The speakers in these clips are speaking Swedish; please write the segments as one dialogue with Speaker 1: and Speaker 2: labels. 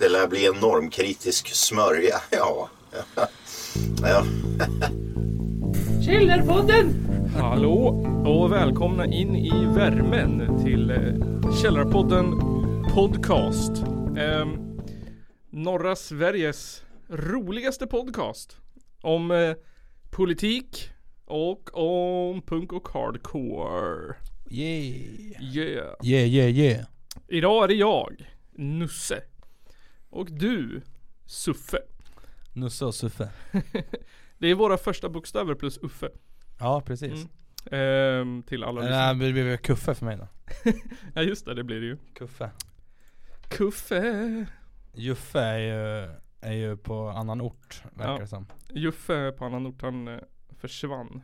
Speaker 1: Det lär bli en normkritisk smörja, ja. ja.
Speaker 2: Källarpodden!
Speaker 3: Hallå och välkomna in i värmen till eh, Källarpodden Podcast. Ehm, norra Sveriges roligaste podcast. Om eh, politik och om punk och hardcore.
Speaker 4: Yeah.
Speaker 3: Yeah.
Speaker 4: Yeah, yeah, yeah.
Speaker 3: Idag är det jag, Nusse. Och du, Suffe.
Speaker 4: Nusse och Suffe.
Speaker 3: Det är våra första bokstäver plus Uffe.
Speaker 4: Ja, precis.
Speaker 3: Mm. Ehm, till alla lyssnare.
Speaker 4: Nej, men det blir väl Kuffe för mig då.
Speaker 3: Ja just det, det blir det ju.
Speaker 4: Kuffe.
Speaker 3: Kuffe.
Speaker 4: Juffe är ju, är ju på annan ort, verkar
Speaker 3: Ja.
Speaker 4: det som.
Speaker 3: Juffe på annan ort, han eh, försvann.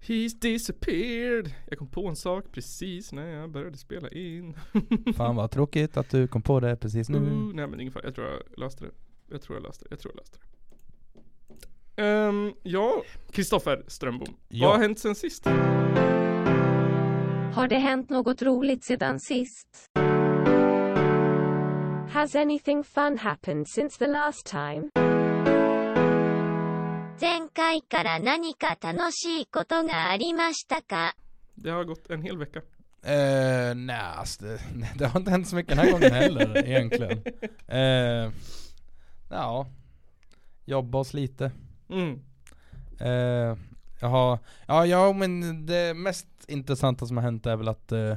Speaker 3: He's disappeared. Jag kom på en sak precis när jag började spela in.
Speaker 4: Fan vad tråkigt att du kom på det precis nu.
Speaker 3: Ooh, nej men ungefär, jag tror jag löste det. Jag tror jag löste det, jag tror jag löste det. Ehm, ja, Kristoffer Strömbom.
Speaker 4: Ja.
Speaker 3: Vad har hänt sen sist?
Speaker 5: Har det hänt något roligt sedan sist? Has anything fun happened since the last time?
Speaker 6: 前回から何か楽しいことがありましたか
Speaker 3: Det har gått en hel vecka.
Speaker 4: Eh, nej, alltså, det, det har inte hänt så mycket den här gången heller egentligen. Eh, ja, jobba oss lite.
Speaker 3: Mm.
Speaker 4: Eh, jag har, ja, ja men det mest intressanta som har hänt är väl att eh,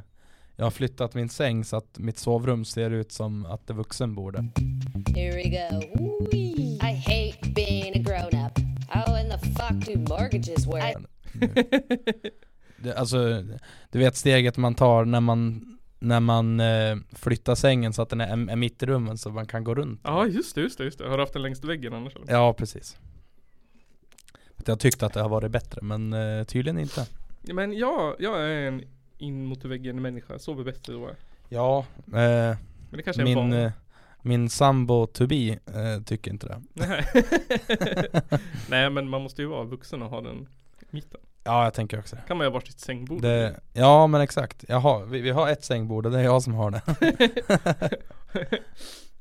Speaker 4: jag har flyttat min säng så att mitt sovrum ser ut som att det vuxen bor där.
Speaker 7: Here we go. Wee. I hate being a grown up. How in the fuck do mortgages work?
Speaker 4: Det, alltså, du vet steget man tar när man, när man eh, flyttar sängen så att den är, är mitt i rummen så man kan gå runt.
Speaker 3: Ja just det, just det, just det. Har du haft den längs väggen annars eller?
Speaker 4: Ja, precis. Jag tyckte att det har varit bättre men eh, tydligen inte.
Speaker 3: Men jag, jag är en in mot väggen människa, sover bättre då.
Speaker 4: Ja, eh,
Speaker 3: Men det kanske är en
Speaker 4: min,
Speaker 3: vana.
Speaker 4: eh, min sambo Tobi eh, tycker inte det.
Speaker 3: Nej. Nej men man måste ju vara vuxen och ha den i mitten.
Speaker 4: Ja, jag tänker också det.
Speaker 3: Kan man ju ha varsitt sängbord.
Speaker 4: det. Ja, men exakt. Jaha, vi, vi har ett sängbord och det är jag som har det.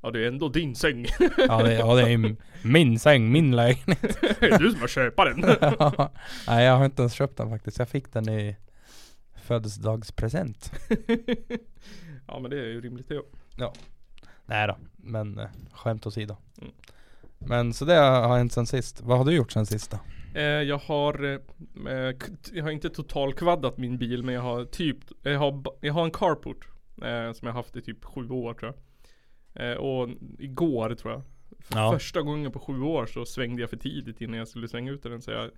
Speaker 3: ja det är ändå din säng.
Speaker 4: Ja, det, ja, det är ju min säng, min lägenhet.
Speaker 3: det är du som har köpt den.
Speaker 4: Ja. Nej, jag har inte ens köpt den faktiskt. Jag fick den i födelsedagspresent.
Speaker 3: ja men det är ju rimligt det. också.
Speaker 4: Nej då, men eh, skämt åsido.
Speaker 3: Mm.
Speaker 4: Men så det har hänt sen sist. Vad har du gjort sen sist då?
Speaker 3: Eh, jag har, eh, eh, k- jag har inte totalkvaddat min bil men jag har typ, jag har, ba- jag har en carport. Eh, som jag haft i typ sju år tror jag. Eh, och igår tror jag. För
Speaker 4: Ja.
Speaker 3: Första gången på sju år så svängde jag för tidigt innan jag skulle svänga ut den så jag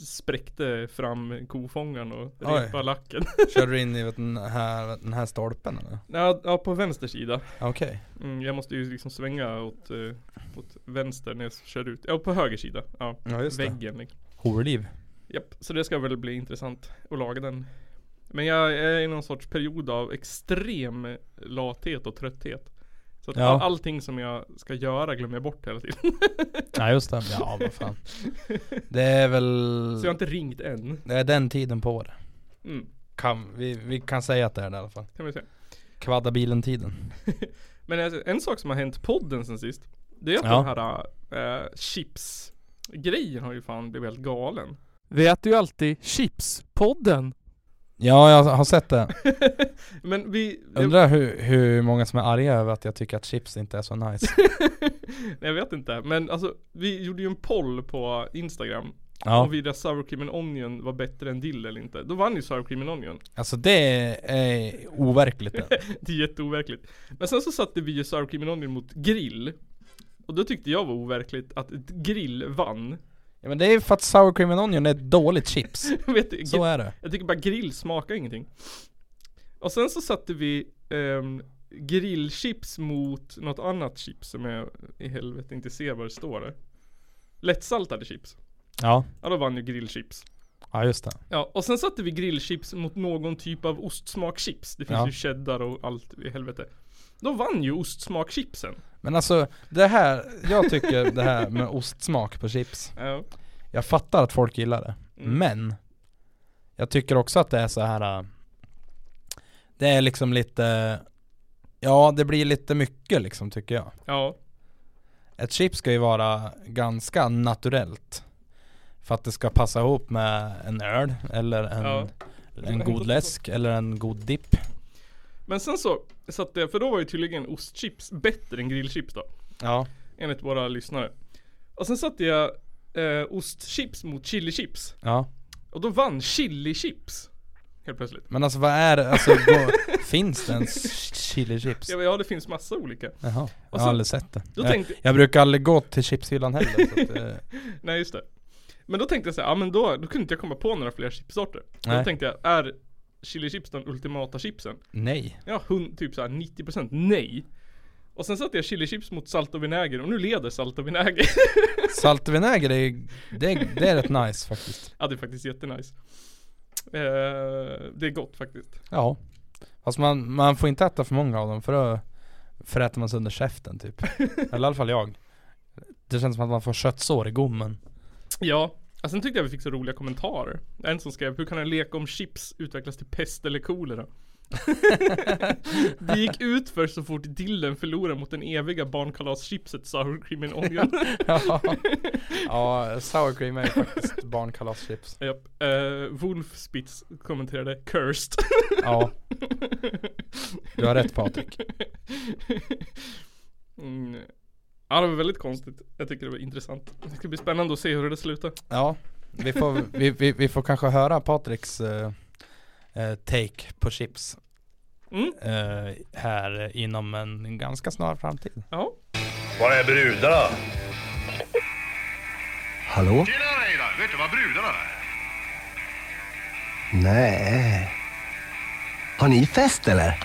Speaker 3: spräckte fram kofångaren och
Speaker 4: Oj.
Speaker 3: repade lacken.
Speaker 4: Körde du in i vet, den här, den här stolpen eller?
Speaker 3: Ja, ja, på vänster sida.
Speaker 4: Okej.
Speaker 3: Mm, jag måste ju liksom svänga åt, eh, åt vänster när jag kör ut. Ja, på höger sida. Ja,
Speaker 4: Ja just det.
Speaker 3: väggen. Liksom.
Speaker 4: Horliv.
Speaker 3: Japp, så det ska väl bli intressant att laga den. Men jag är i någon sorts period av extrem lathet och trötthet. Så att
Speaker 4: Ja.
Speaker 3: all, allting som jag ska göra glömmer jag bort hela tiden.
Speaker 4: Ja just det. Ja vad fan. Det är väl
Speaker 3: Så
Speaker 4: Mm.
Speaker 3: jag har inte ringt än.
Speaker 4: Det är den tiden på året.
Speaker 3: Mm,
Speaker 4: Kan, vi, vi kan säga att det är det i alla fall.
Speaker 3: kan vi säga.
Speaker 4: Kvadda bilen tiden.
Speaker 3: Men alltså, en sak som har hänt podden sen sist. Det är att
Speaker 4: Ja.
Speaker 3: den här äh, chips grejen har ju fan blivit helt galen.
Speaker 8: Vi äter ju alltid Chipspodden.
Speaker 4: Ja, jag har sett det.
Speaker 3: Men vi...
Speaker 4: Undrar hur, hur många som är arga över att jag tycker att chips inte är så nice.
Speaker 3: Nej, jag vet inte. Men alltså, vi gjorde ju en poll på Instagram.
Speaker 4: Ja,
Speaker 3: Om vi sour cream and onion var bättre än dill eller inte. Då vann ju sour cream and onion.
Speaker 4: alltså det är overkligt. det.
Speaker 3: Det är jätteoverkligt. Men sen så satte vi ju sour cream and onion mot grill. Och då tyckte jag var overkligt att ett grill vann.
Speaker 4: Ja, men det är för att sour cream and onion är ett dåligt chips.
Speaker 3: Jag vet, du,
Speaker 4: Så är det.
Speaker 3: jag tycker bara grill smakar ingenting. Och sen så satte vi ehm, grillchips mot något annat chips som jag i helvete inte ser vad det står där. Lättsaltade chips.
Speaker 4: Ja,
Speaker 3: Ja då vann ju grillchips.
Speaker 4: ja just det.
Speaker 3: Ja, och sen satte vi grillchips mot någon typ av ostsmakchips. Det finns
Speaker 4: Ja.
Speaker 3: ju cheddar och allt i helvete. Då vann ju ostsmakchipsen.
Speaker 4: Men alltså det här, jag tycker det här med ostsmak på chips.
Speaker 3: Ja.
Speaker 4: Jag fattar att folk gillar det.
Speaker 3: Mm.
Speaker 4: Men jag tycker också att det är så här. äh, Det är liksom lite Ja, det blir lite mycket liksom tycker jag.
Speaker 3: Ja,
Speaker 4: Ett chips ska ju vara ganska naturellt. För att det ska passa ihop med en öl eller en,
Speaker 3: Ja.
Speaker 4: en god läsk eller en god dipp.
Speaker 3: men sen så, så att, det- för då var ju tydligen ostchips bättre än grillchips då.
Speaker 4: Ja.
Speaker 3: Enligt våra lyssnare. Och sen satte jag eh, ostchips mot chilichips.
Speaker 4: ja.
Speaker 3: Och då vann chilichips. Helt plötsligt.
Speaker 4: Men alltså vad är det, alltså, gå, finns det ens chili chips?
Speaker 3: Ja, men ja det finns massa olika.
Speaker 4: Jaha,
Speaker 3: så-
Speaker 4: jag har aldrig sett det.
Speaker 3: då
Speaker 4: Jag,
Speaker 3: tänkte-
Speaker 4: jag brukar aldrig gå till chipshyllan heller. Så att, eh,
Speaker 3: Nej just det. Men då tänkte jag så här, ja men då, då kunde inte jag komma på några fler chipssorter. Då
Speaker 4: Nej.
Speaker 3: tänkte jag, är chilichips den ultimata chipsen?
Speaker 4: nej.
Speaker 3: Ja, hund, typ så här 90% nej. Och sen satte jag chilichips mot salt och vinäger och nu leder salt och vinäger.
Speaker 4: Salt och vinäger är ju, det, är- det är rätt nice faktiskt.
Speaker 3: ja det är faktiskt jättenice. Eh, det är gott faktiskt.
Speaker 4: Ja. Fast man, man får inte äta för många av dem för då föräter man sönder käften typ. Eller i alla fall jag. Det känns som att man får köttsår i gommen.
Speaker 3: Ja, och sen tyckte jag vi fick så roliga kommentarer. En som skrev, hur kan en lek om chips utvecklas till pest eller kolera? det gick ut för så fort dillen förlorade mot den eviga barnkalas-chipset sour cream and onion.
Speaker 4: ja. ja, sour cream är ju faktiskt barnkalaschips.
Speaker 3: Japp. Uh, Wolfspitz kommenterade 'Cursed'
Speaker 4: Ja. Du har rätt Patrik.
Speaker 3: mm. Ja det var väldigt konstigt. Jag tycker det var intressant. Det ska bli spännande att se hur det slutar.
Speaker 4: Ja, vi får, vi, vi, vi får kanske höra Patriks eh, eh, take på chips
Speaker 3: Mm.
Speaker 4: eh, här inom en ganska snar framtid.
Speaker 3: Ja.
Speaker 2: Var är brudarna?
Speaker 9: Hallå?
Speaker 2: Tjena hejda! Vet du var brudarna är?
Speaker 9: Nej. Har ni fest eller?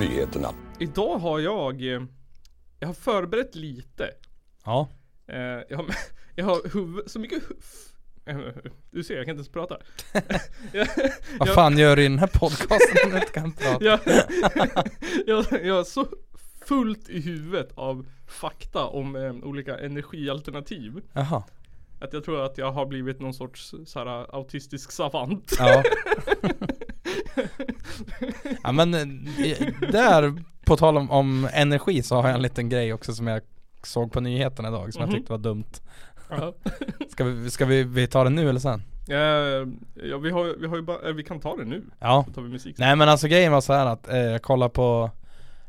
Speaker 10: Nyheterna.
Speaker 3: Idag har jag, eh, jag har förberett lite.
Speaker 4: Ja,
Speaker 3: Eh, jag har, jag har huvud, så mycket huv, eh, Du ser, jag kan inte ens prata. jag,
Speaker 4: vad
Speaker 3: jag-
Speaker 4: fan gör du i den här podcasten om du inte kan prata?
Speaker 3: jag, jag, jag har så fullt i huvudet av fakta om eh, olika energialternativ.
Speaker 4: Jaha,
Speaker 3: Att jag tror att jag har blivit någon sorts så här, autistisk savant.
Speaker 4: ja. ja men eh, där, på tal om, om energi så har jag en liten grej också som jag såg på nyheterna idag som
Speaker 3: Mhm.
Speaker 4: jag tyckte var dumt.
Speaker 3: Ja.
Speaker 4: Ska vi, ska vi, vi ta den nu eller sen?
Speaker 3: Eh, ja, vi, har, vi, har ju bara, eh, vi kan ta det nu.
Speaker 4: Ja.
Speaker 3: Då tar vi musik.
Speaker 4: Nej men alltså grejen var så här att eh, jag kollade på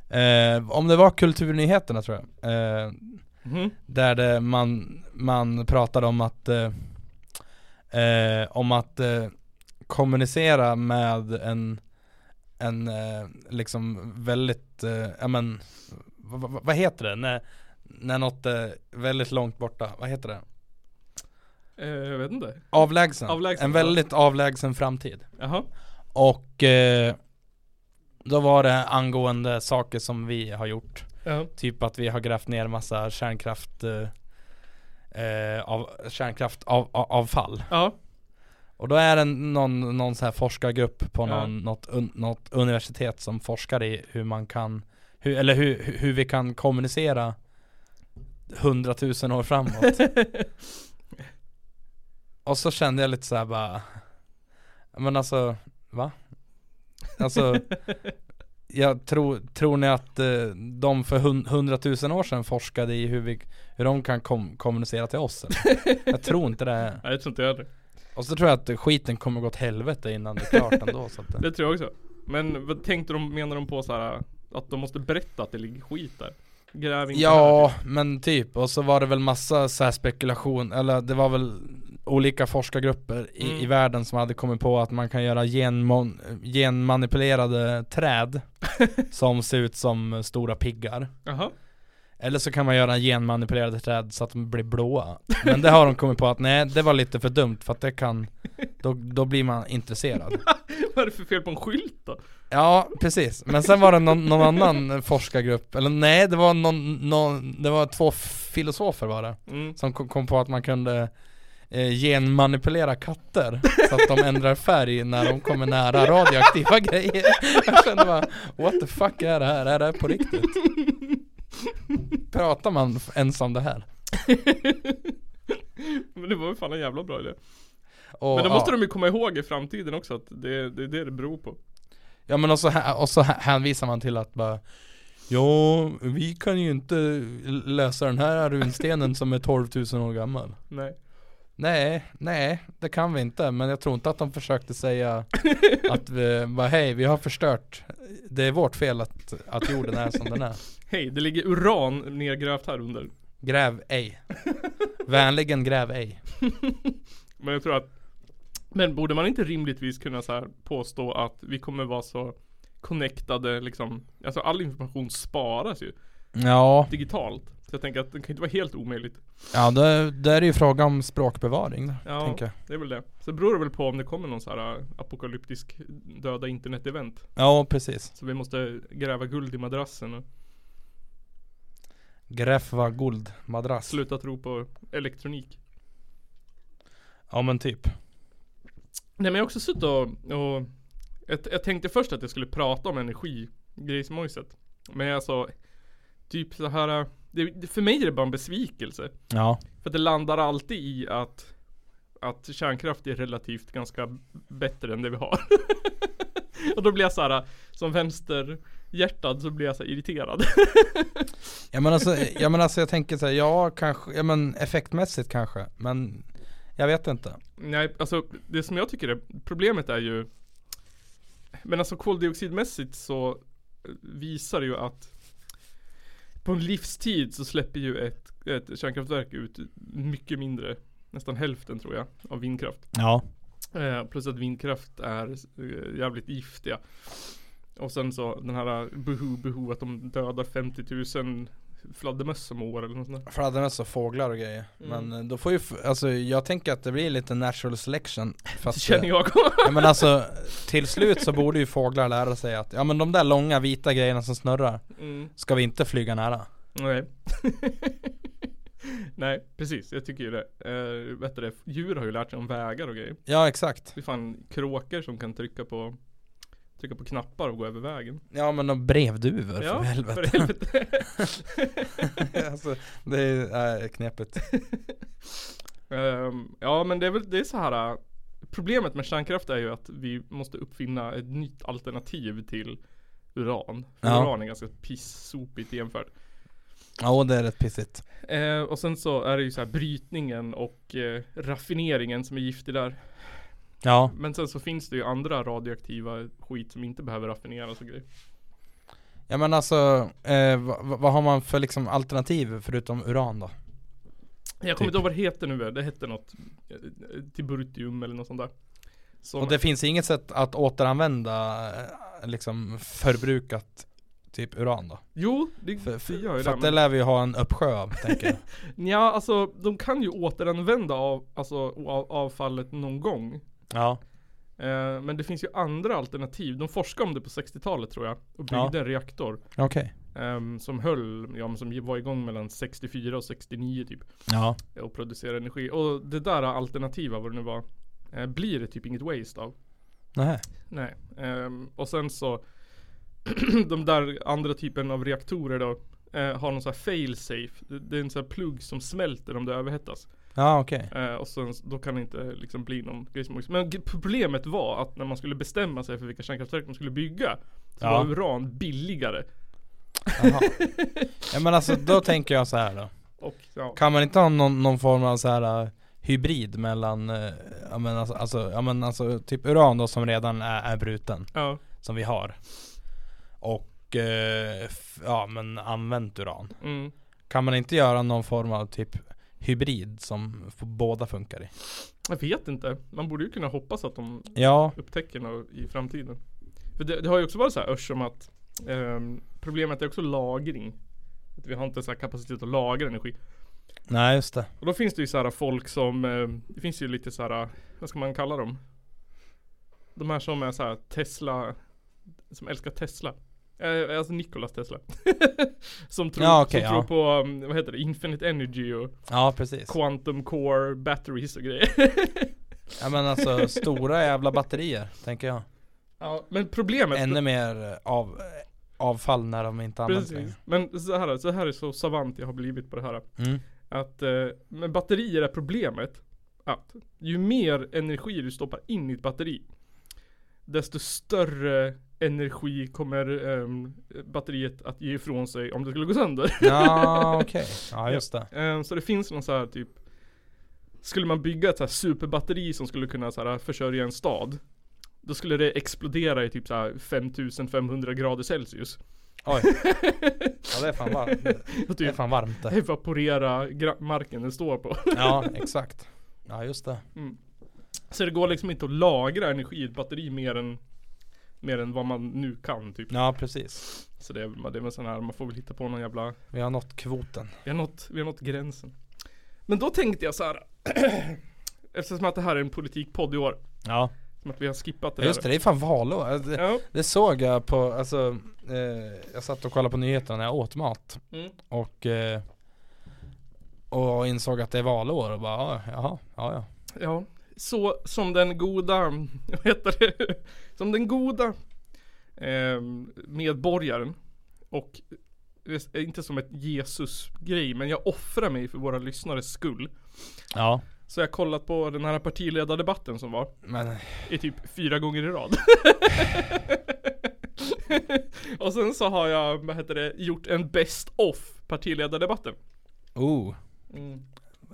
Speaker 4: eh, Om det var kulturnyheterna tror jag eh,
Speaker 3: Mhm.
Speaker 4: Där det, man, man pratade om att eh, eh, Om att eh, kommunicera med en En eh, liksom väldigt, eh, ja men vad, vad- vad heter det? När, när något är väldigt långt borta, vad heter det?
Speaker 3: Eh, jag vet inte.
Speaker 4: Avlägsen,
Speaker 3: Avlägsen,
Speaker 4: en
Speaker 3: ja.
Speaker 4: väldigt avlägsen framtid
Speaker 3: Jaha.
Speaker 4: Och eh, då var det angående saker som vi har gjort.
Speaker 3: Ja.
Speaker 4: Typ att vi har grävt ner massa kärnkraft eh, eh, av, kärnkraft av, av, avfall.
Speaker 3: Ja.
Speaker 4: Och då är det någon, någon så här forskargrupp
Speaker 3: Ja.
Speaker 4: på någon, något, un, något universitet som forskar i hur man kan, hur, eller hur, hur vi kan kommunicera hundratusen år framåt. Och så kände jag lite så här bara, men alltså, va? Alltså, jag tror, tror ni att eh, de för hun- hundratusen år sedan forskade i hur, vi, hur de kan kom, kommunicera till oss? Eller? Jag tror inte det.
Speaker 3: Nej, jag tror inte jag det.
Speaker 4: Och så tror jag att skiten kommer gå åt helvete innan det är klart ändå så att det...
Speaker 3: Det tror jag också. Men vad tänkte de, menar de på så här att de måste berätta att det ligger skit där? Gräv inte här,
Speaker 4: Ja,
Speaker 3: typ.
Speaker 4: men typ. Och så var det väl massa så här spekulation, eller det var väl olika forskargrupper i,
Speaker 3: Mm.
Speaker 4: i världen som hade kommit på att man kan göra genmon, genmanipulerade träd som ser ut som stora piggar.
Speaker 3: Jaha.
Speaker 4: Eller så kan man göra genmanipulerade träd så att de blir blåa. Men det har de kommit på att nej, det var lite för dumt för att det kan, då, då blir man intresserad.
Speaker 3: Vad är det för fel på en skylt då?
Speaker 4: Ja, precis. Men sen var det någon, någon annan forskargrupp, eller nej, det var någon, någon, det var två filosofer var det,
Speaker 3: Mm.
Speaker 4: som kom, kom på att man kunde eh, genmanipulera katter så att de ändrar färg när de kommer nära radioaktiva grejer. Jag kände bara, what the fuck är det här? Är det här på riktigt? Pratar man f- ens om det här?
Speaker 3: Men det var ju fan en jävla bra idé.
Speaker 4: Och,
Speaker 3: Men då måste
Speaker 4: ja.
Speaker 3: de ju komma ihåg i framtiden också att det, det är det det beror på.
Speaker 4: ja men och så, hä- och så hä- hänvisar man till att bara Ja, vi kan ju inte lösa den här runstenen som är 12 000 år gammal.
Speaker 3: Nej.
Speaker 4: Nej, nej, det kan vi inte. Men jag tror inte att de försökte säga att vi bara hej, vi har förstört. Det är vårt fel att, att jorden är som den är.
Speaker 3: Hej, det ligger uran nedgrävt här under.
Speaker 4: Gräv ej. Vänligen gräv ej.
Speaker 3: Men jag tror att Men borde man inte rimligtvis kunna så här påstå att vi kommer vara så connectade liksom Alltså all information sparas ju
Speaker 4: Ja,
Speaker 3: digitalt Så jag tänker att det kan inte vara helt omöjligt
Speaker 4: ja det, det är ju fråga om språkbevaring. då,
Speaker 3: Ja.
Speaker 4: Tänker jag.
Speaker 3: Det är väl det Så beror det väl på om det kommer någon så här äh, apokalyptisk döda internet-event
Speaker 4: ja, precis.
Speaker 3: Så vi måste gräva guld i madrassen och
Speaker 4: Gräff var guldmadrass.
Speaker 3: sluta tro på elektronik
Speaker 4: Ja men typ.
Speaker 3: Nej men jag har också suttit och, och jag, jag tänkte först att jag skulle prata om energi Grejsmojset Men jag sa Typ så här det, det- För mig är det bara en besvikelse
Speaker 4: Ja.
Speaker 3: För att det landar alltid i att Att kärnkraft är relativt ganska bättre än det vi har Och då blir jag så här Som vänsterhjärtad så blir jag så här irriterad
Speaker 4: Ja men alltså, ja, men alltså jag tänker så här, ja kanske, ja men effektmässigt kanske. Men jag vet inte.
Speaker 3: Nej, alltså det som jag tycker är problemet är ju Men alltså koldioxidmässigt så eh, visar det ju att På en livstid så släpper ju ett, ett kärnkraftverk ut mycket mindre Nästan hälften tror jag av vindkraft
Speaker 4: Ja.
Speaker 3: Eh, plus att vindkraft är eh, jävligt giftiga. Och sen så den här behu behu att de dödar 50 000 fladdermöss om år eller något sånt där.
Speaker 4: Fladdermöss och fåglar och grejer.
Speaker 3: Mm.
Speaker 4: Men eh, då får ju, f- alltså jag tänker att det blir lite natural selection. Fast,
Speaker 3: Det känner
Speaker 4: eh,
Speaker 3: jag.
Speaker 4: Ja, men alltså till slut så borde ju fåglar lära sig att ja men de där långa vita grejerna som snurrar
Speaker 3: mm.
Speaker 4: ska vi inte flyga nära.
Speaker 3: Nej. Nej, precis. Jag tycker ju det. Eh, vet du det? Djur har ju lärt sig om vägar och grejer.
Speaker 4: Ja exakt.
Speaker 3: Det är fan kråkor som kan trycka på Trycka på knappar och gå över vägen.
Speaker 4: Ja men de brevduvor för
Speaker 3: för
Speaker 4: helvete.
Speaker 3: helvete.
Speaker 4: alltså, det är äh, knepigt.
Speaker 3: Ehm, ja men det är väl det är så här äh, Problemet med kärnkraft är ju att vi måste uppfinna ett nytt alternativ till uran. För
Speaker 4: Ja.
Speaker 3: uran är ganska pissopigt jämfört.
Speaker 4: Ja och det är rätt pissigt.
Speaker 3: Eh, och sen så är det ju så här brytningen och eh, raffineringen som är giftig där.
Speaker 4: Ja.
Speaker 3: Men sen så finns det ju andra radioaktiva skit som inte behöver raffineras och grejer.
Speaker 4: Ja men alltså, eh, vad, vad har man för liksom alternativ förutom uran då? Typ.
Speaker 3: Jag kommer inte ihåg vad det heter nu, det hette något eh, Tiburtium eller något sånt där. Som,
Speaker 4: Och det finns inget sätt att återanvända eh, liksom förbrukat typ uran då?
Speaker 3: jo, det,
Speaker 4: För,
Speaker 3: det gör
Speaker 4: för,
Speaker 3: ju
Speaker 4: för
Speaker 3: det.
Speaker 4: att det
Speaker 3: men-
Speaker 4: lär vi ju ha en uppsjö av tänker jag.
Speaker 3: Ja, alltså de kan ju återanvända av, alltså, av, avfallet någon gång.
Speaker 4: Ja.
Speaker 3: Eh, men det finns ju andra alternativ. De forskade om det på 60-talet tror jag och byggde
Speaker 4: Ja.
Speaker 3: en reaktor
Speaker 4: Okej.
Speaker 3: ehm, som höll, ja men som var igång mellan 64 och 69 typ
Speaker 4: Ja.
Speaker 3: och producerade energi. Och det där alternativa, vad det nu var, eh, blir det typ inget waste av.
Speaker 4: Nej.
Speaker 3: Nej. ehm, och sen så de där andra typen av reaktorer då eh, har någon sån här fail safe. Det, det är en sån här plugg som smälter om det överhettas.
Speaker 4: Ja okej.
Speaker 3: Eh, och sen då kan det inte liksom bli någon grismojs. Men g- problemet var att när man skulle bestämma sig för vilka kärnkraftverk man skulle bygga Så
Speaker 4: Ja.
Speaker 3: var uran billigare.
Speaker 4: Jaha. ja men alltså då tänker jag så här då.
Speaker 3: Och ja,
Speaker 4: Kan man inte ha någon, någon form av så här eh, hybrid mellan, eh, ja men alltså, alltså, ja, men alltså typ uran då som redan är, är bruten,
Speaker 3: ja,
Speaker 4: som vi har. Och, eh, f- ja men använt uran.
Speaker 3: mm.
Speaker 4: Kan man inte göra någon form av typ hybrid som f- båda funkar i?
Speaker 3: Jag vet inte. Man borde ju kunna hoppas att de
Speaker 4: Ja,
Speaker 3: upptäcker något i framtiden. För det, det har ju också varit så här örs om att ehm, Problemet är också lagring. Att vi har inte så här kapacitet att lagra energi.
Speaker 4: nej just det.
Speaker 3: Och då finns det ju så här folk som, eh, det finns ju lite så här, vad ska man kalla dem? De här som är så här Tesla, som älskar Tesla. Eh, alltså Nikolas Tesla. som tror,
Speaker 4: Ja, okej,
Speaker 3: som
Speaker 4: ja.
Speaker 3: tror på, um, vad heter det, Infinite Energy och
Speaker 4: Ja precis.
Speaker 3: Quantum Core Batteries och grejer.
Speaker 4: Ja men alltså stora jävla batterier tänker jag.
Speaker 3: ja, men problemet,
Speaker 4: Ännu mer eh, av, avfall när de inte används längre.
Speaker 3: precis. Men så här, så här är så savant jag har blivit på det här.
Speaker 4: Mm.
Speaker 3: Att, eh, men batterier är problemet. att ju mer energi du stoppar in i ett batteri, desto större energi kommer ehm, batteriet att ge ifrån sig om det skulle gå sönder.
Speaker 4: Mm. Ja, okej. Ja, just det.
Speaker 3: Ehm, så det finns någon så här typ Skulle man bygga ett så här superbatteri som skulle kunna så här försörja en stad Då skulle det explodera i typ så här 5500 grader Celsius
Speaker 4: Oj. Ja, det är fan varmt.
Speaker 3: Och
Speaker 4: Det är
Speaker 3: typ
Speaker 4: fan varmt det.
Speaker 3: evaporera gra- marken den står på
Speaker 4: Ja, exakt. Ja, just det.
Speaker 3: Så det går liksom inte att lagra energi i ett batteri mer än Mer än vad man nu kan typ
Speaker 4: Ja, precis.
Speaker 3: Så det är, väl- det är väl sån här, man får väl hitta på någon jävla
Speaker 4: Vi har nått kvoten.
Speaker 3: Vi har nått, vi har nått gränsen. Men då tänkte jag så här. Eftersom att det här är en politikpodd i år.
Speaker 4: Ja.
Speaker 3: Som att vi har skippat det
Speaker 4: Just det,
Speaker 3: där.
Speaker 4: det är fan valår. Alltså, det-
Speaker 3: Ja.
Speaker 4: Det såg jag på, alltså eh, Jag satt och kollade på nyheterna när jag åt mat
Speaker 3: Mm.
Speaker 4: Och eh, Och insåg att det är valår och bara "Ah, jaha, ja ja
Speaker 3: ja. Så som den goda, vad heter det? Som den goda eh, medborgaren. Och det är inte som ett Jesus-grej, men jag offrar mig för våra lyssnares skull.
Speaker 4: Ja
Speaker 3: Så jag har kollat på den här partiledardebatten som var.
Speaker 4: Men
Speaker 3: I typ fyra gånger i rad. och sen så har jag, vad heter det, gjort en best off partiledardebatten.
Speaker 4: oh
Speaker 3: Mm.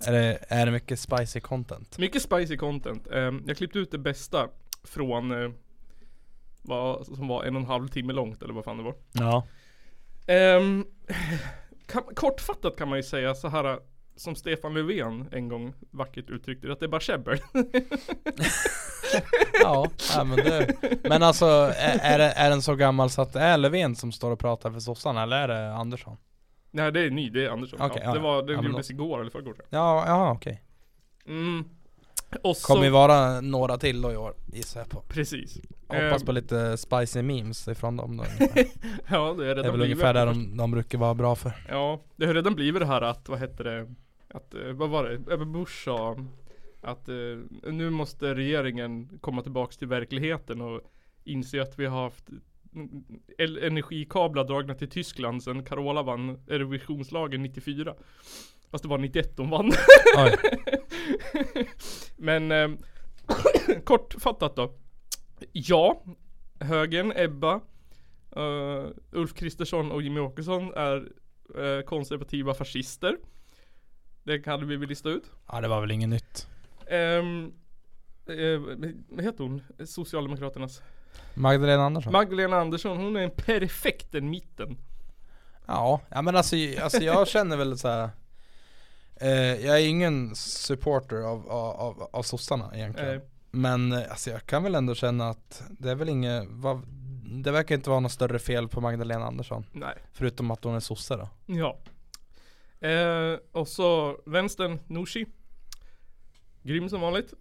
Speaker 4: är, det, är det mycket spicy content?
Speaker 3: Mycket spicy content. Ehm, Jag klippte ut det bästa från eh, vad som var en och en halv timme långt eller vad fan det var.
Speaker 4: Ja
Speaker 3: Ehm, kan, kortfattat kan man ju säga så här som Stefan Löfven en gång vackert uttryckte det, att det är bara käbbel.
Speaker 4: Ja, ja men du Men alltså är, är, det, är den så gammal så att det är Löfven som står och pratar för sossarna eller är det Andersson?
Speaker 3: Nej det är ny, det är Andersson.
Speaker 4: Okej,
Speaker 3: ja, det
Speaker 4: ja,
Speaker 3: var,
Speaker 4: ja.
Speaker 3: det
Speaker 4: Ja, men
Speaker 3: gjordes igår eller förrgår tror
Speaker 4: Ja, ja okej
Speaker 3: jag. Mm. Och så,
Speaker 4: Kommer ju vara några till då i år gissar jag på
Speaker 3: precis.
Speaker 4: Hoppas
Speaker 3: Ehm,
Speaker 4: på lite spicy memes ifrån dem då
Speaker 3: Ja det är
Speaker 4: Det är
Speaker 3: redan
Speaker 4: väl
Speaker 3: blivit
Speaker 4: ungefär det de, de brukar vara bra för
Speaker 3: Ja, det har redan blivit det här att, vad hette det Att, eh, vad var det? Ebba Busch sa Att eh, nu måste regeringen komma tillbaks till verkligheten och Inse att vi har haft mm, el- Energikablar dragna till Tyskland sen Carola vann Eurovisionslagen 94 Fast det var 91 hon vann
Speaker 4: Oj.
Speaker 3: Men eh, kortfattat då. Ja, högern, Ebba, eh, Ulf Kristersson och Jimmy Åkesson är eh, konservativa fascister. Det kan vi väl lista ut.
Speaker 4: Ja det var väl inget nytt
Speaker 3: Ehm, eh, vad heter hon? Socialdemokraternas.
Speaker 4: Magdalena Andersson?
Speaker 3: Magdalena Andersson, hon är en perfekt en mitten.
Speaker 4: ja, ja men alltså, alltså jag känner väl så här. Eh, jag är ingen supporter av, av, av, av sossarna egentligen
Speaker 3: Eh,
Speaker 4: Men eh, alltså jag kan väl ändå känna att det är väl inget, vad, det verkar inte vara något större fel på Magdalena Andersson
Speaker 3: nej.
Speaker 4: Förutom att hon är sosse då
Speaker 3: Ja. Eh, och så vänstern, Nooshi. Grym som vanligt.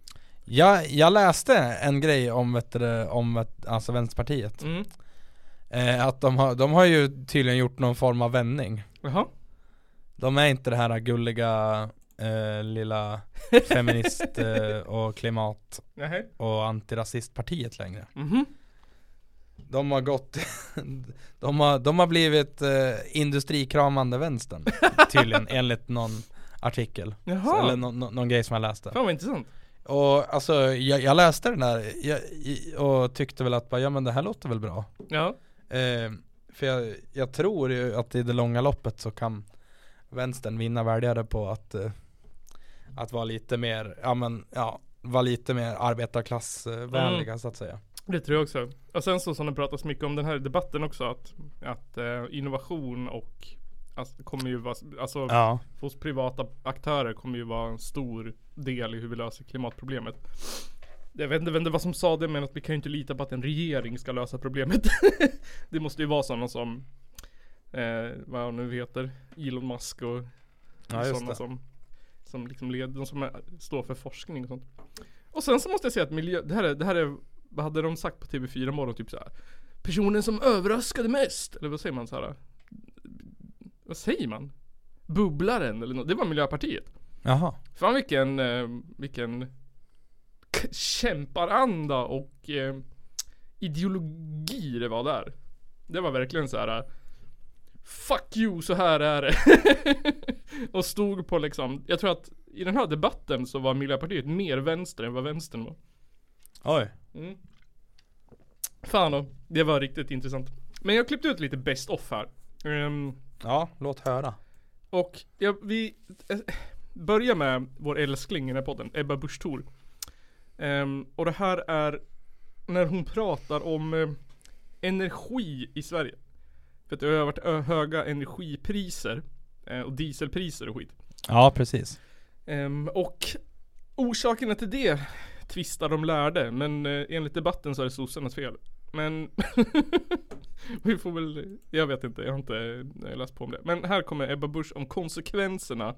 Speaker 4: jag, jag läste en grej om, vet du, om vet, alltså Vänsterpartiet
Speaker 3: Mm.
Speaker 4: eh, Att de har, de har ju tydligen gjort någon form av vändning
Speaker 3: Jaha.
Speaker 4: De är inte det här gulliga eh, lilla feminist eh, och klimat
Speaker 3: Nej.
Speaker 4: och antirasistpartiet längre.
Speaker 3: Mhm.
Speaker 4: De har gått, de har, de har blivit eh, industrikramande vänstern tydligen enligt någon artikel. Så,
Speaker 3: Jaha.
Speaker 4: eller nå- nå- någon grej som jag läste.
Speaker 3: Fan vad intressant.
Speaker 4: Och alltså jag, jag läste den där jag, i- och tyckte väl att bara, ja men det här låter väl bra.
Speaker 3: Ja.
Speaker 4: Eh, för jag, jag tror ju att i det långa loppet så kan vänstern vinna väljare på att, eh, att vara lite mer, ja men ja, vara lite mer arbetarklassvänliga
Speaker 3: Mm.
Speaker 4: så att säga.
Speaker 3: Det tror jag också. Och sen så som det pratas mycket om den här debatten också att, att eh, innovation och alltså, kommer ju vara, alltså
Speaker 4: Ja.
Speaker 3: hos privata aktörer kommer ju vara en stor del i hur vi löser klimatproblemet. Jag vet inte vem det var som sa det men att vi kan ju inte lita på att en regering ska lösa problemet. det måste ju vara sådana som eh, vad han nu heter, Elon Musk och
Speaker 4: Ja, just
Speaker 3: sådana
Speaker 4: det.
Speaker 3: som, som liksom led, de som är, står för forskning och sånt. Och sen så måste jag säga att miljö, det här är, det här är vad hade de sagt på TV4 morgon typ så här. Personen som överraskade mest, eller vad säger man så här? Vad säger man? Bubblaren eller något, det var Miljöpartiet.
Speaker 4: Jaha.
Speaker 3: Fan vilken, eh, vilken k- kämparanda och eh, ideologi det var där. Det var verkligen så här. eh, Fuck you, så här är det. och stod på liksom, jag tror att i den här debatten så var Miljöpartiet mer vänster än vad vänstern var.
Speaker 4: Oj.
Speaker 3: Fan då, det var riktigt intressant. Men jag klippte ut lite best off här. Ehm,
Speaker 4: Ja, låt höra.
Speaker 3: och ja, vi eh, börjar med vår älskling i den här podden, Ebba Busch Thor. Ehm, Och det här är när hon pratar om eh, energi i Sverige. För att det har varit ö- höga energipriser eh, och dieselpriser och skit.
Speaker 4: Ja, precis.
Speaker 3: Ehm, och orsakerna till det tvistar de lärde, men eh, enligt debatten så är det sossarnas fel. Men vi får väl, jag vet inte, jag har inte eh, läst på om det. Men här kommer Ebba Busch om konsekvenserna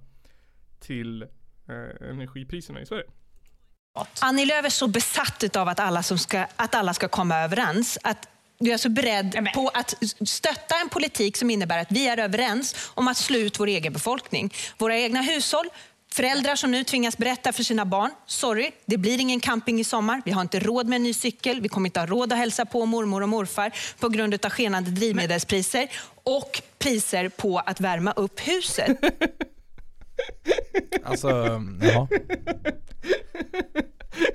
Speaker 3: till eh, energipriserna i Sverige.
Speaker 10: Annie Lööf är så besatt av att alla, som ska, att alla ska komma överens. Att du är så beredd på att stötta en politik som innebär att vi är överens om att slå ut vår egen befolkning. Våra egna hushåll, föräldrar som nu tvingas berätta för sina barn. Sorry, det blir ingen camping i sommar. Vi har inte råd med en ny cykel. Vi kommer inte ha råd att hälsa på mormor och morfar på grund av skenande drivmedelspriser och priser på att värma upp huset.
Speaker 4: Alltså, ja.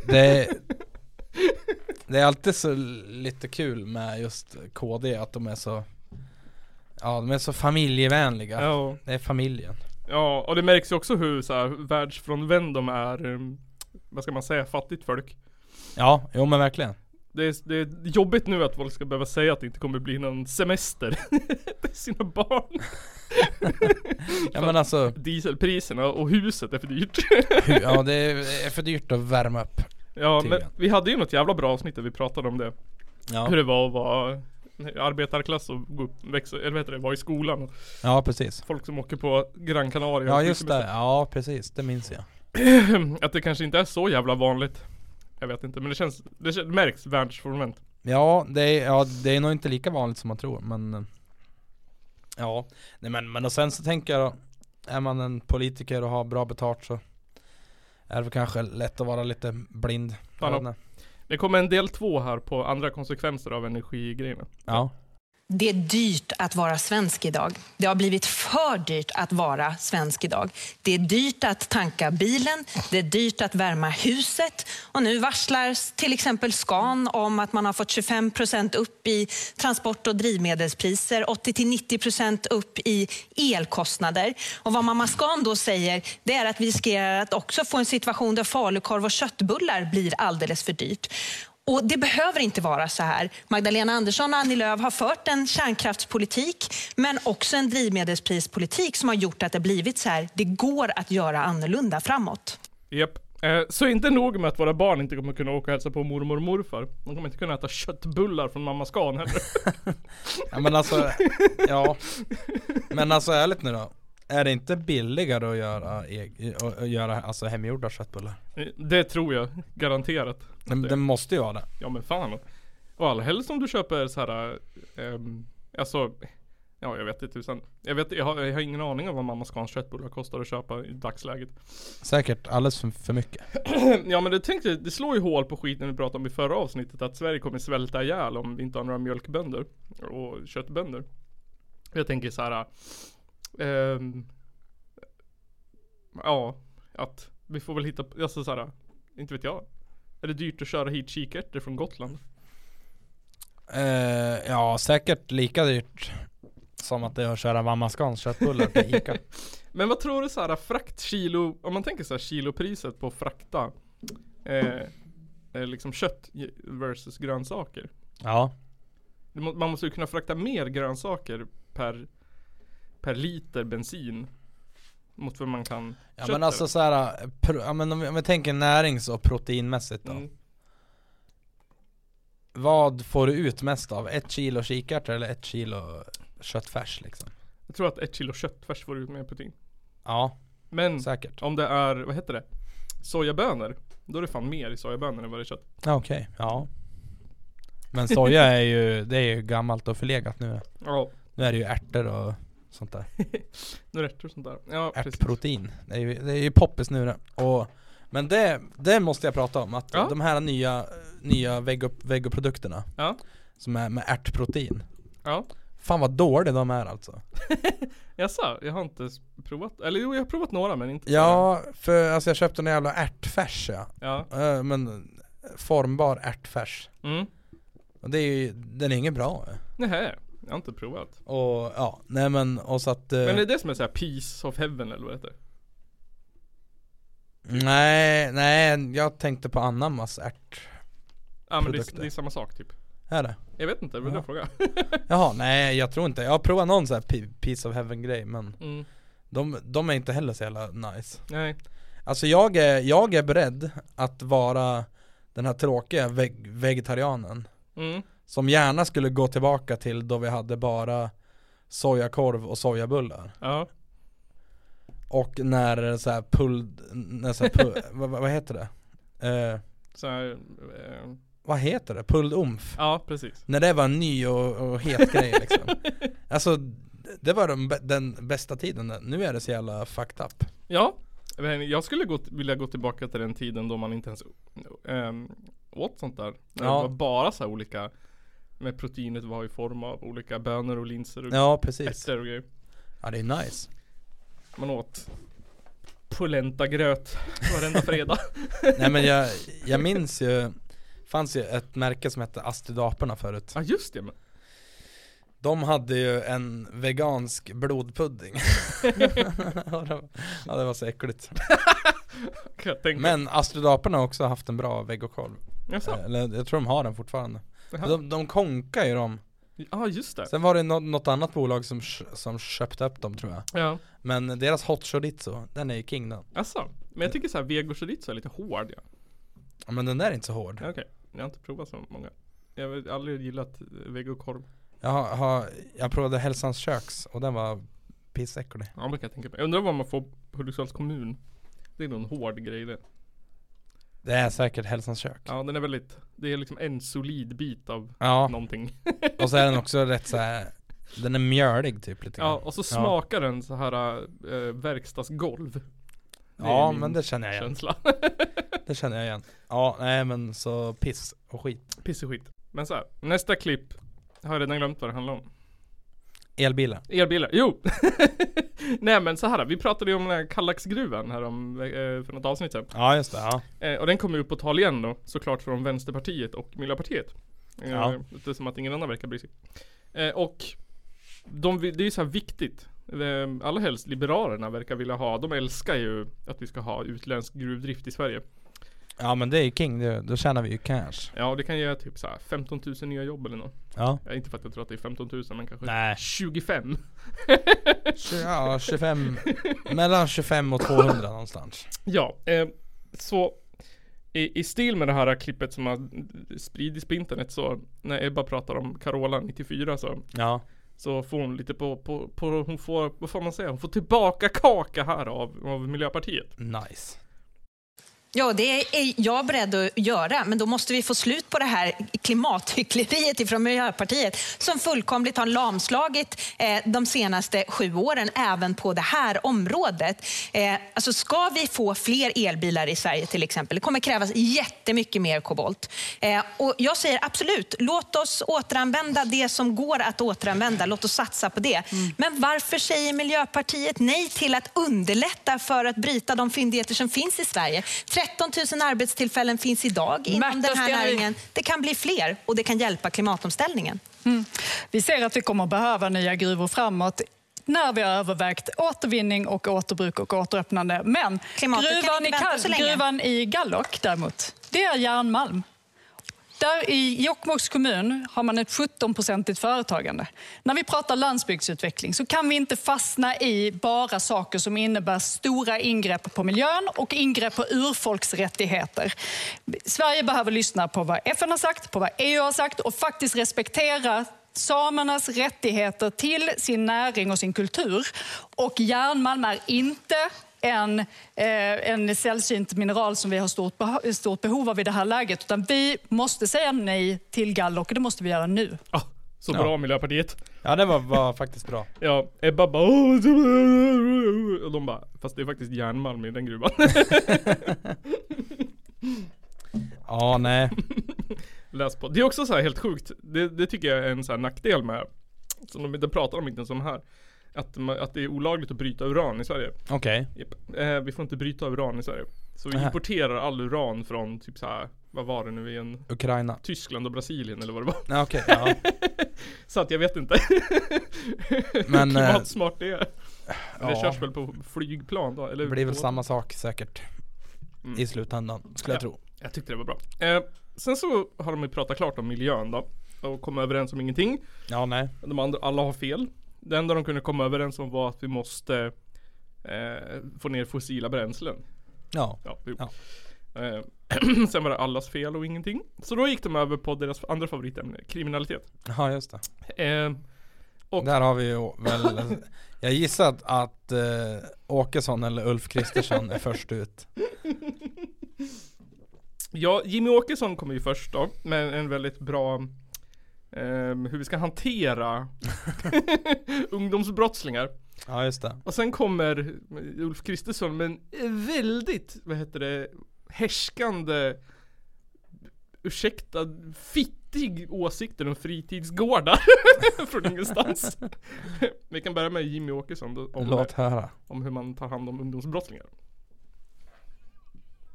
Speaker 4: Det, det är alltid så lite kul med just KD, att de är så Ja, de är så familjevänliga.
Speaker 3: Ja.
Speaker 4: Det är familjen.
Speaker 3: ja, och det märks ju också hur så här, världsfrånvänd de är, ehm, vad ska man säga, fattigt folk.
Speaker 4: Ja, jo men verkligen.
Speaker 3: Det är, det är jobbigt nu att folk ska behöva säga att det inte kommer bli någon semester till sina barn.
Speaker 4: Ja men alltså,
Speaker 3: Dieselpriserna och huset är för dyrt.
Speaker 4: hu- ja, det är det är för dyrt att värma upp.
Speaker 3: Ja men
Speaker 4: Tydligen.
Speaker 3: vi hade ju något jävla bra avsnitt där vi pratade om det.
Speaker 4: Ja,
Speaker 3: Hur det var att vara arbetarklass och gå upp, växa, eller vad heter det, vara i skolan. och
Speaker 4: ja precis.
Speaker 3: Folk som åker på Gran Canaria.
Speaker 4: Ja just det, ja precis, det minns jag.
Speaker 3: Att det kanske inte är så jävla vanligt. Jag vet inte men det känns, det kän- märks världsfrånvänt.
Speaker 4: Ja det, är, ja, det är nog inte lika vanligt som man tror men eh, Ja, nej men, men och sen så tänker jag då Är man en politiker och har bra betalt så Är det kanske lätt att vara lite blind
Speaker 3: Ja.
Speaker 4: Jag vet inte.
Speaker 3: Det kommer en del två här på andra konsekvenser av energigrejerna.
Speaker 4: ja.
Speaker 10: Det är dyrt att vara svensk idag. Det har blivit för dyrt att vara svensk idag. Det är dyrt att tanka bilen, det är dyrt att värma huset och nu varslar till exempel Scan om att man har fått 25 procent upp i transport och drivmedelspriser, 80-90 procent upp i elkostnader. Och vad mamma Scan då säger, det är att vi riskerar att också få en situation där falukorv och köttbullar blir alldeles för dyrt. Och Det behöver inte vara så här. Magdalena Andersson och Annie Lööf har fört en kärnkraftspolitik men också en drivmedelsprispolitik som har gjort att det blivit så här. Det går att göra annorlunda framåt.
Speaker 3: Japp. Eh, Så inte nog med att våra barn inte kommer kunna åka och hälsa på mormor och morfar. De kommer inte kunna äta köttbullar från mamma Scan heller.
Speaker 4: ja men alltså Ja Men alltså ärligt nu då Är det inte billigare att göra, eg- att- att göra alltså hemgjorda köttbullar?
Speaker 3: Eh, Det tror jag, garanterat.
Speaker 4: Det, det måste ju vara det
Speaker 3: Ja men fan. Och allhelst om du köper så här, ehm, alltså, ja jag vet inte tusan. Jag, vet, jag, har, jag har ingen aning om vad mamma Scans köttbullar kostar att köpa i dagsläget.
Speaker 4: Säkert alldeles för, för mycket
Speaker 3: ja men det tänkte, det slår ju hål på skiten vi pratade om i förra avsnittet att Sverige kommer svälta ihjäl om vi inte har några mjölkbönder och köttbönder. Jag tänker så här. ehm, ja, att vi får väl hitta, alltså så här, inte vet jag. Är det dyrt att köra hit kikärtor från Gotland?
Speaker 4: Eh, ja, säkert lika dyrt som att det är att köra mamma Scans köttbullar till Ica.
Speaker 3: Men vad tror du så här fraktkilo, om man tänker så här kilopriset på att frakta eh, eh, liksom kött i- versus grönsaker.
Speaker 4: ja,
Speaker 3: Det må- Man måste ju kunna frakta mer grönsaker per, per liter bensin mot vad man kan
Speaker 4: ja
Speaker 3: köttet.
Speaker 4: men alltså så här, eh, pro, ja, men om, vi- om vi tänker närings och proteinmässigt då.
Speaker 3: Mm.
Speaker 4: Vad får du ut mest av? Ett kilo kikärtor eller ett kilo köttfärs liksom?
Speaker 3: Jag tror att ett kilo köttfärs får ut mer protein.
Speaker 4: Ja,
Speaker 3: Men
Speaker 4: säkert.
Speaker 3: om det är, vad heter det? Sojabönor. Då är det fan mer i sojabönor än vad det är kött.
Speaker 4: Ja, Okej, ja. Men soja är ju, det är ju gammalt och förlegat nu.
Speaker 3: Ja,
Speaker 4: Nu är det ju ärtor och sånt där.
Speaker 3: nu rätt och sånt där. Ja, precis.
Speaker 4: Ärtprotein. Det är ju, det är ju poppis nu det. Och, men det, det måste jag prata om, att
Speaker 3: Ja.
Speaker 4: de här nya, nya vego- vegoprodukterna
Speaker 3: Ja,
Speaker 4: som är med ärtprotein.
Speaker 3: ja.
Speaker 4: Fan vad dåliga de är alltså.
Speaker 3: Jaså, jag har inte s- provat. Eller jo, jag har provat några men inte så
Speaker 4: Ja, för alltså jag köpte en jävla ärtfärs ja.
Speaker 3: många. Ja.
Speaker 4: Eh, Men formbar ärtfärs.
Speaker 3: Mm.
Speaker 4: Och det är ju, den är ingen bra. eh.
Speaker 3: Nähä, jag har inte provat.
Speaker 4: Och ja, nej men och så att eh,
Speaker 3: Men är det som är såhär Peace of Heaven eller vad det heter?
Speaker 4: Nej, nej jag tänkte på anammas ärt.
Speaker 3: Ja men det är,
Speaker 4: Produkter.
Speaker 3: det är samma sak typ.
Speaker 4: Är det?
Speaker 3: Jag vet inte, det var det jag frågade.
Speaker 4: Jaha, nej jag tror inte. Jag har provat någon sån här P- piece of heaven grej men
Speaker 3: Mm.
Speaker 4: de, de är inte heller så jävla nice.
Speaker 3: Nej.
Speaker 4: Alltså jag är, jag är beredd att vara den här tråkiga veg- vegetarianen.
Speaker 3: Mm.
Speaker 4: Som gärna skulle gå tillbaka till då vi hade bara sojakorv och sojabullar.
Speaker 3: Ja.
Speaker 4: Och när det är så här pull, när så här pull vad, vad vad heter det? Eh,
Speaker 3: Så här, eh,
Speaker 4: vad heter det? Pulled umf.
Speaker 3: ja precis.
Speaker 4: När det var en ny och, och het grej liksom Alltså det var den, bä- den bästa tiden, nu är det så jävla fucked up
Speaker 3: Ja. Men jag skulle gå, vilja gå tillbaka till den tiden då man inte ens ehm, åt sånt där. När
Speaker 4: Ja.
Speaker 3: Det var bara så här olika med proteinet var i form av olika bönor och linser och
Speaker 4: Ja precis,
Speaker 3: ärtor och grejer.
Speaker 4: ja det är nice
Speaker 3: Man åt polentagröt varenda fredag.
Speaker 4: Nej men jag, jag minns ju Fanns ju ett märke som hette Astrid Aporna förut
Speaker 3: Ja just det. Men.
Speaker 4: De hade ju en vegansk blodpudding Ja, det var- Ja det var så äckligt
Speaker 3: kan jag tänka.
Speaker 4: Men Astrid Aporna har också haft en bra vegokorv
Speaker 3: Jaså?
Speaker 4: Eh, Eller jag tror de har den fortfarande
Speaker 3: Jaha.
Speaker 4: De, de konkar ju dem
Speaker 3: Ja just det.
Speaker 4: Sen var det nå- något annat bolag som, sh- som köpte upp dem tror jag
Speaker 3: Ja.
Speaker 4: Men deras hot chorizo, den är ju king den
Speaker 3: Jaså? Alltså, Men jag tycker så här vego chorizo är lite hård ja.
Speaker 4: Ja, Men den där är inte så hård
Speaker 3: Ja, Okej, jag har inte provat så många. Jag har aldrig gillat eh, vegokorv.
Speaker 4: Jag, har, har, jag provade Hälsans köks och den var pissäcklig
Speaker 3: Ja, det kan jag tänka mig. Jag undrar vad man får på Hudiksvalls kommun. Det är nog en hård grej det.
Speaker 4: Det är säkert Hälsans kök Ja,
Speaker 3: Ja, den är väldigt, det är liksom en solid bit av någonting.
Speaker 4: och så är den också rätt så här. Den är mjölig typ lite grann.
Speaker 3: Ja, och så smakar den så här eh, verkstadsgolv. Det är
Speaker 4: Ja
Speaker 3: min
Speaker 4: men det känner jag igen,
Speaker 3: känsla.
Speaker 4: det känner jag igen Ja nej men så piss och skit
Speaker 3: Piss och skit. Men så här, nästa klipp. Har jag redan glömt vad det handlar om.
Speaker 4: Elbilar
Speaker 3: Elbilar. Jo! Nej men så här, vi pratade ju om den här Kallaxgruvan här om, eh, för något avsnitt sedan.
Speaker 4: Ja just det, ja
Speaker 3: Eh, och den kommer ju upp på tal igen då, såklart från Vänsterpartiet och Miljöpartiet. Eh,
Speaker 4: Ja.
Speaker 3: Det är som att ingen annan verkar bry sig. Eh, och de, vill- det är ju så här viktigt. Eh, Allra helst Liberalerna verkar vilja ha, de älskar ju att vi ska ha utländsk gruvdrift i Sverige.
Speaker 4: Ja men det är ju king, det, då tjänar vi ju cash
Speaker 3: Ja, det kan ge typ så här 15 000 nya jobb eller något.
Speaker 4: Ja
Speaker 3: Ja, inte för att jag tror att det är 15 000 men kanske
Speaker 4: Nej
Speaker 3: 25.
Speaker 4: Ja 25, mellan 25 och 200 någonstans
Speaker 3: Ja, eh, så i, i stil med det här klippet som har spridits på internet så när Ebba pratar om Carola 94 så
Speaker 4: Ja
Speaker 3: Så får hon lite på, på, på hon får, vad får man säga, hon får tillbaka kaka här av, av Miljöpartiet.
Speaker 4: Nice
Speaker 10: Ja, det är jag beredd att göra, men då måste vi få slut på det här klimathyckleriet ifrån Miljöpartiet som fullkomligt har lamslagit eh, de senaste sju åren, även på det här området. Eh, alltså ska vi få fler elbilar i Sverige till exempel, det kommer krävas jättemycket mer kobolt. Eh, och jag säger absolut, låt oss återanvända det som går att återanvända, låt oss satsa på det.
Speaker 11: Mm.
Speaker 10: Men varför säger Miljöpartiet nej till att underlätta för att bryta de fyndigheter som finns i Sverige? 13 000 arbetstillfällen finns idag inom
Speaker 12: Märta
Speaker 10: den här
Speaker 12: Stenevi.
Speaker 10: näringen. Det kan bli fler och det kan hjälpa klimatomställningen.
Speaker 12: Vi ser att vi kommer behöva nya gruvor framåt när vi har övervägt återvinning och återbruk och återöppnande. Men
Speaker 10: Klimatet
Speaker 12: gruvan,
Speaker 10: kan inte
Speaker 12: i
Speaker 10: vänta
Speaker 12: Kall-
Speaker 10: så länge.
Speaker 12: gruvan i Gallok däremot, det är järnmalm. Där i Jokkmokks kommun har man ett 17-procentigt företagande. När vi pratar landsbygdsutveckling så kan vi inte fastna i bara saker som innebär stora ingrepp på miljön och ingrepp på urfolks rättigheter. Sverige behöver lyssna på vad FN har sagt, på vad EU har sagt och faktiskt respektera samernas rättigheter till sin näring och sin kultur. Och järnmalm är inte en, eh, en sällsynt mineral som vi har stort, beho- stort behov av i det här läget. Utan vi måste säga nej till Gallock och det måste vi göra nu.
Speaker 3: Ah, så bra Miljöpartiet.
Speaker 4: Ja det var, var faktiskt bra
Speaker 3: Ja, Ebba bara "Åh, så-" Och de bara, fast det är faktiskt järnmalm i den gruvan.
Speaker 4: Ja nej
Speaker 3: Läs på. Det är också så här helt sjukt. Det, det tycker jag är en så här nackdel med som de, det pratar de inte ens om här. Att, ma- att det är olagligt att bryta uran i Sverige.
Speaker 4: Okej.
Speaker 3: Japp. Eh, vi får inte bryta uran i Sverige. Så vi
Speaker 4: Nähä.
Speaker 3: importerar all uran från typ så här, vad var det nu igen?
Speaker 4: Ukraina.
Speaker 3: Tyskland och Brasilien eller vad det var.
Speaker 4: Ja, okej, ja.
Speaker 3: så att jag vet inte.
Speaker 4: Men,
Speaker 3: Hur
Speaker 4: eh,
Speaker 3: klimatsmart det är. Men det
Speaker 4: ja.
Speaker 3: körs väl på flygplan då? Eller
Speaker 4: Det eh, blir väl
Speaker 3: på-
Speaker 4: samma sak säkert.
Speaker 3: Mm.
Speaker 4: I slutändan, skulle jag
Speaker 3: Ja,
Speaker 4: tro.
Speaker 3: Jag tyckte det var bra. Eh, sen så har de ju pratat klart om miljön då. Och kommit överens om ingenting.
Speaker 4: Ja, nej.
Speaker 3: De andra, alla har fel. Det enda de kunde komma överens om var att vi måste eh, få ner fossila bränslen.
Speaker 4: Ja.
Speaker 3: Ja, jo. Eh, sen var det allas fel och ingenting. Så då gick de över på deras andra favoritämne, kriminalitet.
Speaker 4: Ja, just det.
Speaker 3: Eh, och
Speaker 4: Där har vi ju väl, jag gissar att, att eh, Åkesson eller Ulf Kristersson är först ut.
Speaker 3: Ja, Jimmy Åkesson kommer ju först då, med en väldigt bra ehm, hur vi ska hantera ungdomsbrottslingar.
Speaker 4: Ja, just det.
Speaker 3: Och sen kommer Ulf Kristersson med en väldigt, vad heter det, härskande, ursäkta, fittig åsikter om fritidsgårdar från ingenstans. vi kan börja med Jimmy Åkesson då, om,
Speaker 4: Låt höra.
Speaker 3: om hur man tar hand om ungdomsbrottslingar.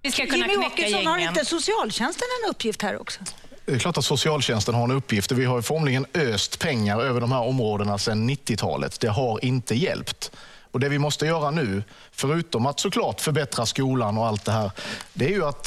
Speaker 13: Vi ska
Speaker 11: kunna
Speaker 13: Jimmy
Speaker 11: knäcka
Speaker 13: Åkesson, har
Speaker 11: gängen.
Speaker 13: inte socialtjänsten en uppgift här också?
Speaker 14: Det är klart att socialtjänsten har en uppgift och vi har ju formligen öst pengar över de här områdena sedan 90-talet. Det har inte hjälpt. Och det vi måste göra nu, förutom att såklart förbättra skolan och allt det här, det är ju att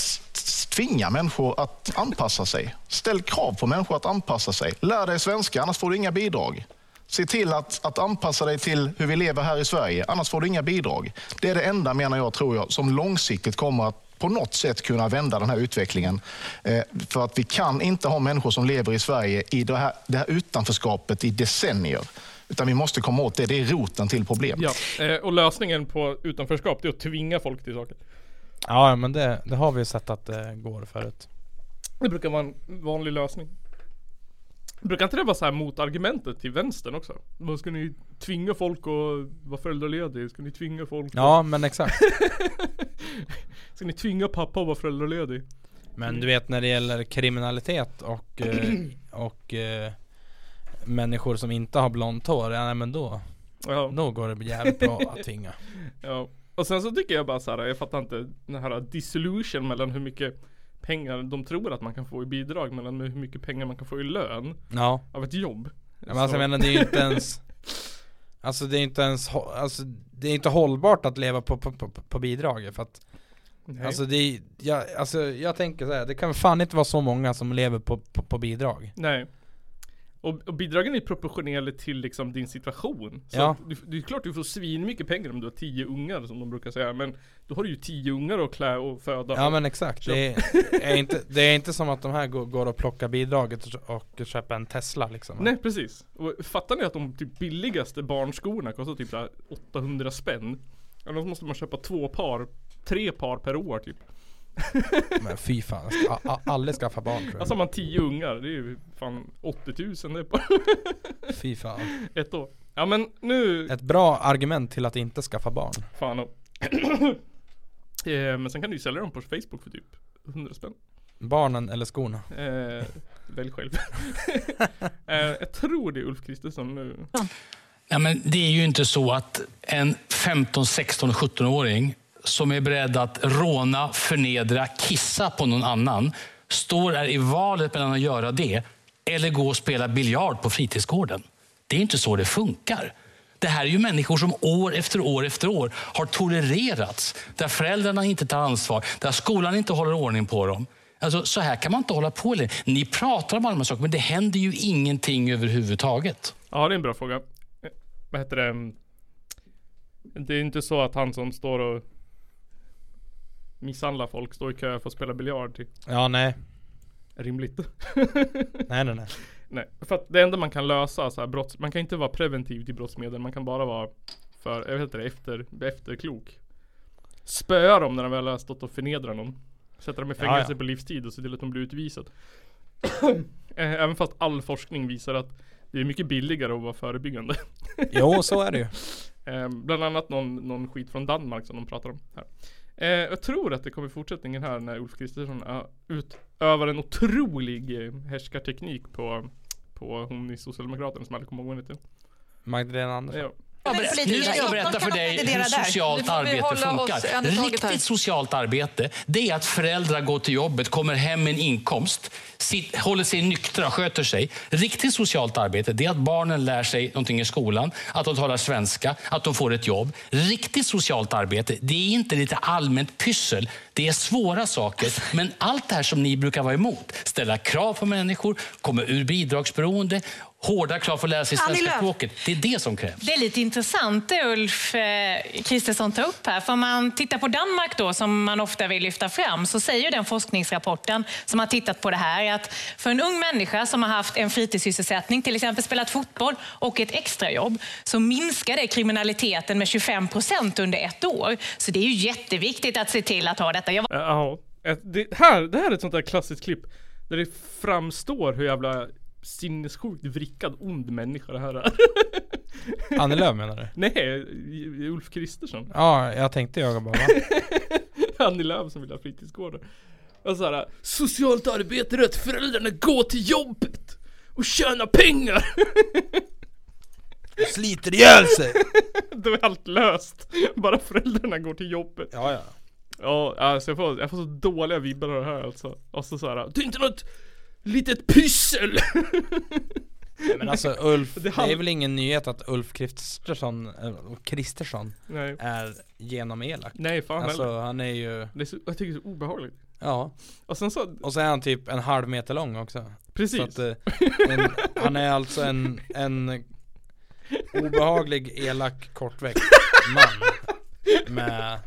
Speaker 14: tvinga människor att anpassa sig. Ställ krav på människor att anpassa sig. Lär dig svenska, annars får du inga bidrag. Se till att, att anpassa dig till hur vi lever här i Sverige, annars får du inga bidrag. Det är det enda, menar jag, tror jag, som långsiktigt kommer att på något sätt kunna vända den här utvecklingen. Eh, för att vi kan inte ha människor som lever i Sverige i det här, det här utanförskapet i decennier. Utan vi måste komma åt det, det är roten till problemet.
Speaker 3: Ja, eh, och lösningen på utanförskap det är att tvinga folk till saker.
Speaker 4: Ja, men det, det har vi ju sett att det går förut.
Speaker 3: Det brukar vara en vanlig lösning. Brukar inte det vara så här motargumentet till vänstern också? Man ska ni tvinga folk att vara föräldraledig? Ska ni tvinga folk?
Speaker 4: Ja,
Speaker 3: att...
Speaker 4: men exakt.
Speaker 3: Ska ni tvinga pappa att vara föräldraledig?
Speaker 4: Men du vet när det gäller kriminalitet och, eh, och eh, människor som inte har blont hår, ja, nej, men då,
Speaker 3: Ja.
Speaker 4: då går det jävligt bra att tvinga.
Speaker 3: Ja. Och sen så tycker jag bara så här, jag fattar inte den här dissolution mellan hur mycket pengar de tror att man kan få i bidrag mellan hur mycket pengar man kan få i lön
Speaker 4: Ja.
Speaker 3: av ett jobb.
Speaker 4: Ja, men alltså, jag
Speaker 3: Så-
Speaker 4: menar det är ju inte ens Alltså det är inte ens hå- alltså, det är inte hållbart att leva på, på, på, på bidrag för att
Speaker 3: Nej.
Speaker 4: Alltså det är, jag, alltså jag tänker så här, det kan fan inte vara så många som lever på, på, på bidrag
Speaker 3: Nej. Och, och bidragen är proportionella till liksom din situation. Så
Speaker 4: Ja.
Speaker 3: du, det är klart du får svin mycket pengar om du har tio ungar som de brukar säga. Men då har du ju tio ungar att klä och föda.
Speaker 4: Ja
Speaker 3: och
Speaker 4: men exakt, det är,
Speaker 3: köpa.
Speaker 4: är inte, det är inte som att de här går, går och plockar bidraget och, och köper en Tesla liksom
Speaker 3: Nej precis. Och fattar ni att de typ billigaste barnskorna kostar typ så här 800 spänn? Annars måste man köpa två par, tre par per år typ.
Speaker 4: Men fy fan, jag ska- a- a- aldrig skaffa barn tror jag
Speaker 3: Alltså har man tio ungar, det är ju fan 80 000 det är på
Speaker 4: Fy fan
Speaker 3: ett år. Ja men nu
Speaker 4: Ett bra argument till att inte skaffa barn
Speaker 3: Fan och. eh, men sen kan du ju sälja dem på Facebook för typ 100 spänn.
Speaker 4: Barnen eller skorna
Speaker 3: Eh, välj själv. eh, jag tror det är Ulf Kristersson nu.
Speaker 15: Ja, men det är ju inte så att en 15, 16, 17-åring som är beredd att råna, förnedra, kissa på någon annan står där i valet mellan att göra det eller gå och spela biljard på fritidsgården. Det är inte så det funkar. Det här är ju människor som år efter år efter år har tolererats. Där föräldrarna inte tar ansvar, där skolan inte håller ordning på dem. Alltså, så här kan man inte hålla på längre. Ni pratar om alla de här sakerna, men det händer ju ingenting överhuvudtaget.
Speaker 3: Ja, det är en bra fråga. Eh, Vad heter det? Det är inte så att han som står och misshandlar folk står i kö för att spela biljard. Typ.
Speaker 4: Ja nej
Speaker 3: Rimligt.
Speaker 4: Nej nej nej
Speaker 3: Nej, för att det enda man kan lösa så här brotts... Man kan inte vara preventiv till brottsmedel. Man kan bara vara för, jag vet inte, efter, efterklok. Spöa dem när de väl har stått och förnedrar någon. Sätta dem i
Speaker 4: Ja,
Speaker 3: fängelse
Speaker 4: ja.
Speaker 3: på livstid och se till att de blir utvisade. Eh, Även fast all forskning visar att det är mycket billigare att vara förebyggande.
Speaker 4: Jo, så är det ju.
Speaker 3: Eh, Bland annat någon, någon skit från Danmark som de pratar om här. Eh, jag tror att det kommer fortsättningen här när Ulf Kristersson eh, utövar en otrolig eh, härskarteknik på på hon i Socialdemokraterna som jag aldrig kommer ihåg vad hon heter.
Speaker 4: Magdalena Andersson.
Speaker 3: Ja. Eh,
Speaker 15: Jag berättar- Nu ska jag berätta för dig hur socialt arbete funkar. Riktigt socialt arbete, det är att föräldrar går till jobbet, kommer hem med en inkomst, sitt, håller sig nyktra, sköter sig. Riktigt socialt arbete, det är att barnen lär sig någonting i skolan, att de talar svenska, att de får ett jobb. Riktigt socialt arbete, det är inte lite allmänt pyssel. Det är svåra saker, men allt det här som ni brukar vara emot, ställa krav på människor, komma ur bidragsberoende, hårda krav för att lära sig
Speaker 11: Annie
Speaker 15: svenska
Speaker 11: Lööf.
Speaker 15: språket. Det är det som krävs.
Speaker 11: Det är lite intressant det Ulf eh, Kristersson tar upp här. För om man tittar på Danmark då, som man ofta vill lyfta fram, så säger ju den forskningsrapporten som har tittat på det här att för en ung människa som har haft en fritidssysselsättning, till exempel spelat fotboll och ett extrajobb, så minskar det kriminaliteten med 25 procent under ett år. Så det är ju jätteviktigt att se till att ha detta. Jag
Speaker 3: Eh, Ja, Ett- det, här, det här är ett sånt där klassiskt klipp Där det framstår hur jävla sinnessjukt vrickad ond människa det här är
Speaker 4: Annie Lööf menar du?
Speaker 3: Nej, i- Ulf Kristersson
Speaker 4: Ja, jag tänkte jag bara. va?
Speaker 3: Annie Lööf som vill ha fritidsgårdar Och såhär, socialt arbete är att föräldrarna går till jobbet och tjänar pengar!
Speaker 4: Sliter ihjäl sig!
Speaker 3: Då är allt löst, bara föräldrarna går till jobbet
Speaker 4: Ja, ja
Speaker 3: Ja, alltså jag får, jag får så dåliga vibbar av det här alltså Och så såhär, det är inte något litet pyssel!
Speaker 4: Men alltså Ulf, det,
Speaker 3: handlar-
Speaker 4: är väl ingen nyhet att Ulf Kristersson, eh, Kristersson
Speaker 3: Nej.
Speaker 4: är genomelak?
Speaker 3: Nej fan
Speaker 4: Alltså
Speaker 3: heller.
Speaker 4: han är ju,
Speaker 3: det är så, Jag tycker det är så obehagligt
Speaker 4: ja
Speaker 3: Och sen så
Speaker 4: Och så är han typ en halv meter lång också
Speaker 3: Precis.
Speaker 4: så att, eh, en, Han är alltså en, en obehaglig, elak, kortväxt man Med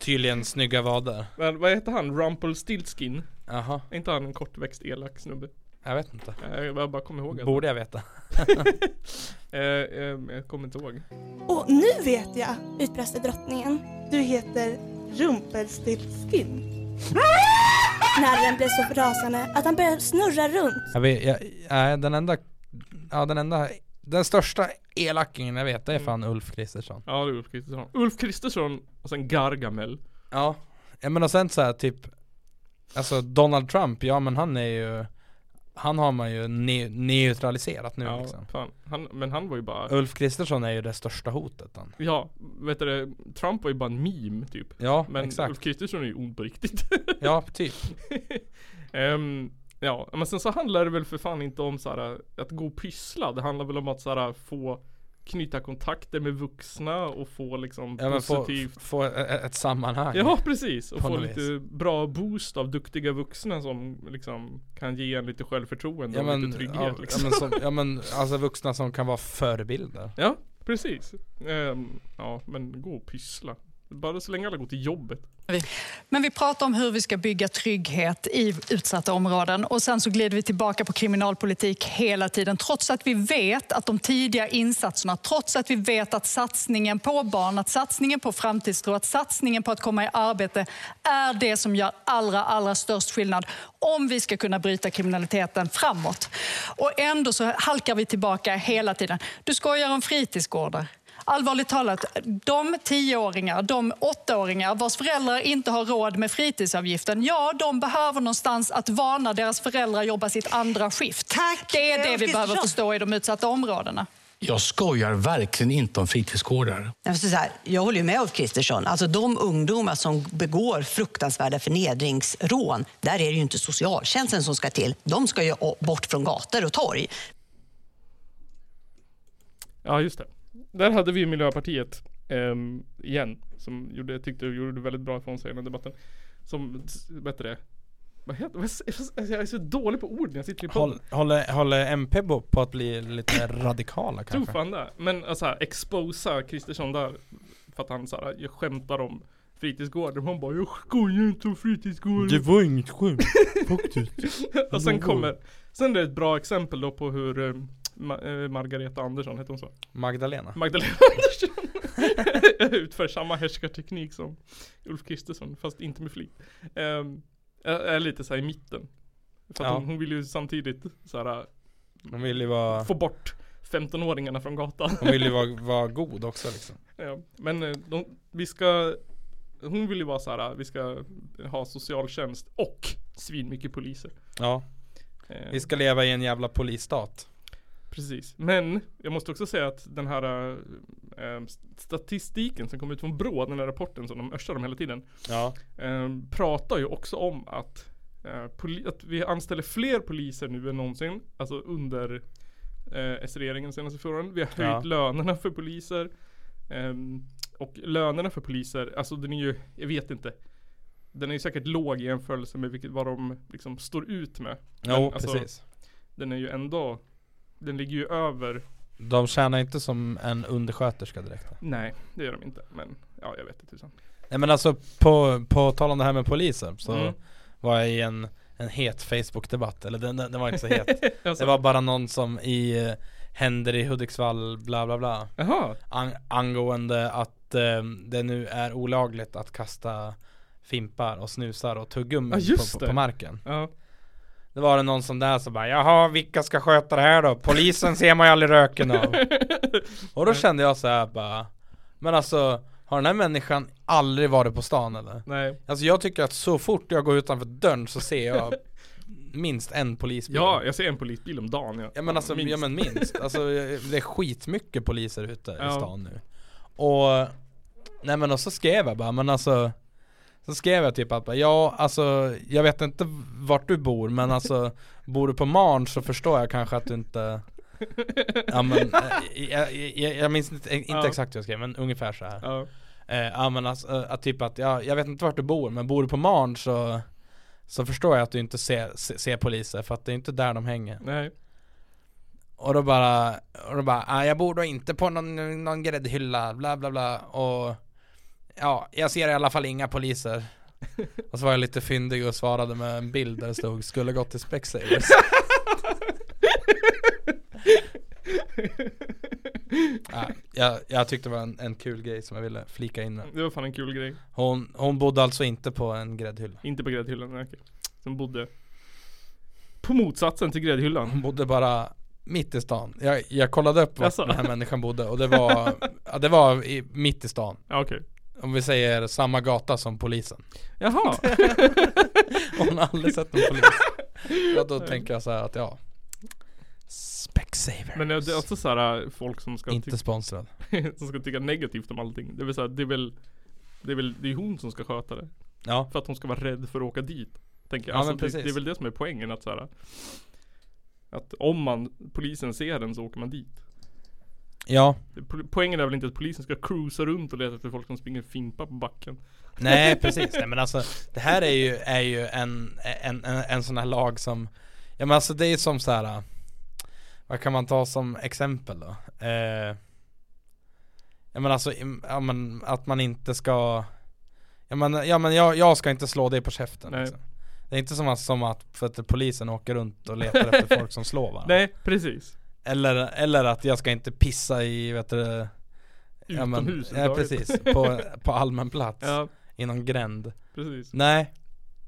Speaker 4: tydligen snygga vader
Speaker 3: Men vad heter han? Rumpelstiltskin?
Speaker 4: Jaha
Speaker 3: Är inte han en kortväxt elak snubbe?
Speaker 4: Jag vet inte
Speaker 3: Jag, jag bara kommer ihåg att-
Speaker 4: Borde jag veta?
Speaker 3: eh, eh, jag kommer inte ihåg
Speaker 16: Och nu vet jag, utbrast drottningen. Du heter Rumpelstiltskin. Narren blev så rasande att han började snurra runt.
Speaker 4: Jag vet, jag, nej, den enda, ja den enda, den största elakingen jag vet det är fan Ulf Kristersson
Speaker 3: Ja det är Ulf Kristersson Ulf Kristersson och sen Gargamel
Speaker 4: Ja, ja men och sen så här typ Alltså Donald Trump, ja men han är ju Han har man ju ne- neutraliserat nu
Speaker 3: ja,
Speaker 4: liksom
Speaker 3: fan. Han, Men han var ju bara
Speaker 4: Ulf Kristersson är ju det största hotet han
Speaker 3: Ja, vet du det, Trump var ju bara en meme typ
Speaker 4: Ja,
Speaker 3: Men
Speaker 4: exakt.
Speaker 3: Ulf Kristersson är ju ond på riktigt
Speaker 4: Ja, typ
Speaker 3: Ehm, Ja, men sen så handlar det väl för fan inte om så här, att gå och pyssla Det handlar väl om att så här, få knyta kontakter med vuxna och få liksom
Speaker 4: Ja men få,
Speaker 3: positiv
Speaker 4: få e- ett ett sammanhang
Speaker 3: Ja precis, och
Speaker 4: På
Speaker 3: få
Speaker 4: något
Speaker 3: lite bra boost av duktiga vuxna som liksom kan ge en lite självförtroende
Speaker 4: Ja
Speaker 3: och
Speaker 4: men,
Speaker 3: lite trygghet
Speaker 4: ja,
Speaker 3: liksom.
Speaker 4: ja, men som, ja men alltså vuxna som kan vara förebilder
Speaker 3: Ja, precis. Ehm, ja, men gå och pyssla. Bara så länge alla går till jobbet.
Speaker 12: Men vi pratar om hur vi ska bygga trygghet i utsatta områden och sen så glider vi tillbaka på kriminalpolitik hela tiden trots att vi vet att de tidiga insatserna, trots att vi vet att satsningen på barn, att satsningen på framtidstro, att satsningen på att komma i arbete är det som gör allra, allra störst skillnad om vi ska kunna bryta kriminaliteten framåt. Och ändå så halkar vi tillbaka hela tiden. Du skojar om fritidsgårdar. Allvarligt talat, de tioåringar, de åttaåringar vars föräldrar inte har råd med fritidsavgiften, ja, de behöver någonstans att vara när deras föräldrar jobbar sitt andra skift. det är det vi behöver förstå i de utsatta områdena.
Speaker 15: Jag skojar verkligen inte om fritidsgårdar.
Speaker 17: Jag, måste säga så här, jag håller ju med Ulf Kristersson. Alltså de ungdomar som begår fruktansvärda förnedringsrån, där är det ju inte socialtjänsten som ska till. De ska ju o- bort från gator och torg.
Speaker 3: Ja, just det. Där hade vi Miljöpartiet ehm, igen. Som gjorde, tyckte gjorde väldigt bra ifrån sig i den här debatten. Som, vet du det? Vad heter vad, s- Jag är så dålig på ord när jag sitter i podden.
Speaker 4: Håll, håller, håller MP på på att bli lite radikala
Speaker 3: Tror
Speaker 4: kanske?
Speaker 3: fan det. Men alltså här, exposa Kristersson där. För att han så här, jag skämtar om fritidsgården. Och Han bara, jag skojar inte om fritidsgården.
Speaker 4: var inget skämt, faktiskt
Speaker 3: Och sen
Speaker 4: Mm.
Speaker 3: kommer, sen är det ett bra exempel då på hur eh, Ma- eh, Margareta Andersson, heter hon så?
Speaker 4: Magdalena
Speaker 3: Magdalena Andersson utför samma härskarteknik som Ulf Kristersson, fast inte med flit. Ehm, är är lite så här i mitten. För att
Speaker 4: Ja.
Speaker 3: hon, hon vill ju samtidigt så här, eh,
Speaker 4: Hon vill ju vara,
Speaker 3: få bort 15-åringarna från gatan.
Speaker 4: hon vill ju vara, vara god också liksom
Speaker 3: Ja, men eh, de, vi ska Hon vill ju vara så här. vi ska ha socialtjänst och svin mycket poliser Ehm.
Speaker 4: Ja Vi ska leva i en jävla polisstat.
Speaker 3: Precis. Men jag måste också säga att den här eh, statistiken som kom ut från BRÅ, den här rapporten som de örsar om hela tiden.
Speaker 4: Ja.
Speaker 3: Eh, pratar ju också om att, eh, poli- att vi anställer fler poliser nu än någonsin. Alltså under eh, S-regeringen de senaste fyra åren. Vi har höjt
Speaker 4: Ja.
Speaker 3: lönerna för poliser. Ehm, och lönerna för poliser, alltså den är ju, jag vet inte. Den är ju säkert låg i jämförelse med vilket, vad de liksom står ut med.
Speaker 4: Jo,
Speaker 3: alltså-
Speaker 4: precis.
Speaker 3: Den är ju ändå, den ligger ju över,
Speaker 4: De tjänar inte som en undersköterska direkt.
Speaker 3: nej det gör de inte. Men ja, jag vet inte tusan.
Speaker 4: Nej men alltså på, på tal om det här med polisen så
Speaker 3: Mm.
Speaker 4: var jag i en, en het Facebook-debatt, eller den, den, den var inte så het
Speaker 3: Jaså?
Speaker 4: Det var bara någon som i eh, Händer i Hudiksvall bla bla bla
Speaker 3: Jaha.
Speaker 4: Ang- Angående att eh, det nu är olagligt att kasta fimpar och snusar och tuggummi
Speaker 3: Ja, just
Speaker 4: på, på,
Speaker 3: det.
Speaker 4: på marken
Speaker 3: Ja.
Speaker 4: Det var det någon som där som bara Jaha vilka ska sköta det här då? Polisen ser man ju aldrig röken av Och då kände jag så här bara Men alltså Har den här människan aldrig varit på stan eller?
Speaker 3: Nej.
Speaker 4: Alltså jag tycker att så fort jag går utanför dörren så ser jag Minst en polisbil
Speaker 3: Ja, jag ser en polisbil om dagen. Ja,
Speaker 4: Ja men alltså,
Speaker 3: minst.
Speaker 4: ja men minst. Alltså jag- det är skitmycket poliser ute
Speaker 3: Ja.
Speaker 4: i stan nu. Och, nej men och så skrev jag bara, men alltså så skrev jag typ att bara, ja alltså jag vet inte vart du bor men alltså bor du på Marn så förstår jag kanske att du inte Ja men eh, jag, jag, jag minns inte, inte
Speaker 3: Ja.
Speaker 4: exakt hur jag skrev men ungefär så här.
Speaker 3: Ja.
Speaker 4: Eh, ja men alltså, eh, att typ att ja, jag vet inte vart du bor men bor du på Marn så så förstår jag att du inte ser, se- ser poliser för att det är inte där de hänger.
Speaker 3: Nej.
Speaker 4: Och då bara, och då bara ah, jag bor då inte på någon, någon gräddhylla, bla bla bla och ja, jag ser i alla fall inga poliser. Och så var jag lite fyndig och svarade med en bild där det stod 'Skulle gått till Specsavers' ja, jag, jag tyckte det var en, en kul grej som jag ville flika in med.
Speaker 3: Det var fan en kul grej.
Speaker 4: Hon, hon bodde alltså inte på en gräddhylla.
Speaker 3: Inte på gräddhyllan, nej okej. Som bodde på motsatsen till gräddhyllan.
Speaker 4: Hon bodde bara mitt i stan. Jag, jag kollade upp var
Speaker 3: Jaså?
Speaker 4: den här människan bodde och det var, ja, det var i, mitt i stan.
Speaker 3: Ja, okej.
Speaker 4: Om vi säger samma gata som polisen.
Speaker 3: Jaha.
Speaker 4: hon har aldrig sett någon polis. Ja, då tänker jag så här att ja. Specsavers.
Speaker 3: Men det är också så här äh, folk som ska
Speaker 4: Inte
Speaker 3: tyck-
Speaker 4: sponsrad.
Speaker 3: som ska tycka negativt om allting. Det vill säga, det är väl Det är väl, det är hon som ska sköta det.
Speaker 4: Ja.
Speaker 3: För att hon ska vara rädd för att åka dit. Tänker jag.
Speaker 4: Ja,
Speaker 3: alltså,
Speaker 4: men
Speaker 3: det,
Speaker 4: precis.
Speaker 3: det är väl det som är poängen att så här, Att om man, polisen ser den så åker man dit.
Speaker 4: Ja.
Speaker 3: Det- po- Poängen är väl inte att polisen ska cruisa runt och leta efter folk som springer fimpa på backen.
Speaker 4: Nej precis, nej men alltså det här är ju, är ju en, en, en, en sån här lag som Ja men alltså det är ju som så här. Vad kan man ta som exempel då? Eh, ja men alltså, im- ja, men att man inte ska Ja men, ja, men jag, jag ska inte slå dig på käften
Speaker 3: Nej.
Speaker 4: liksom. Det är inte som att, som att, för att polisen åker runt och letar efter folk som slår varandra
Speaker 3: Nej, precis.
Speaker 4: eller, eller att jag ska inte pissa i, vet du ja, men-
Speaker 3: Utomhus
Speaker 4: Ja
Speaker 3: överhuvudtaget.
Speaker 4: precis, på, på allmän plats
Speaker 3: Ja.
Speaker 4: I någon gränd
Speaker 3: Precis.
Speaker 4: Nej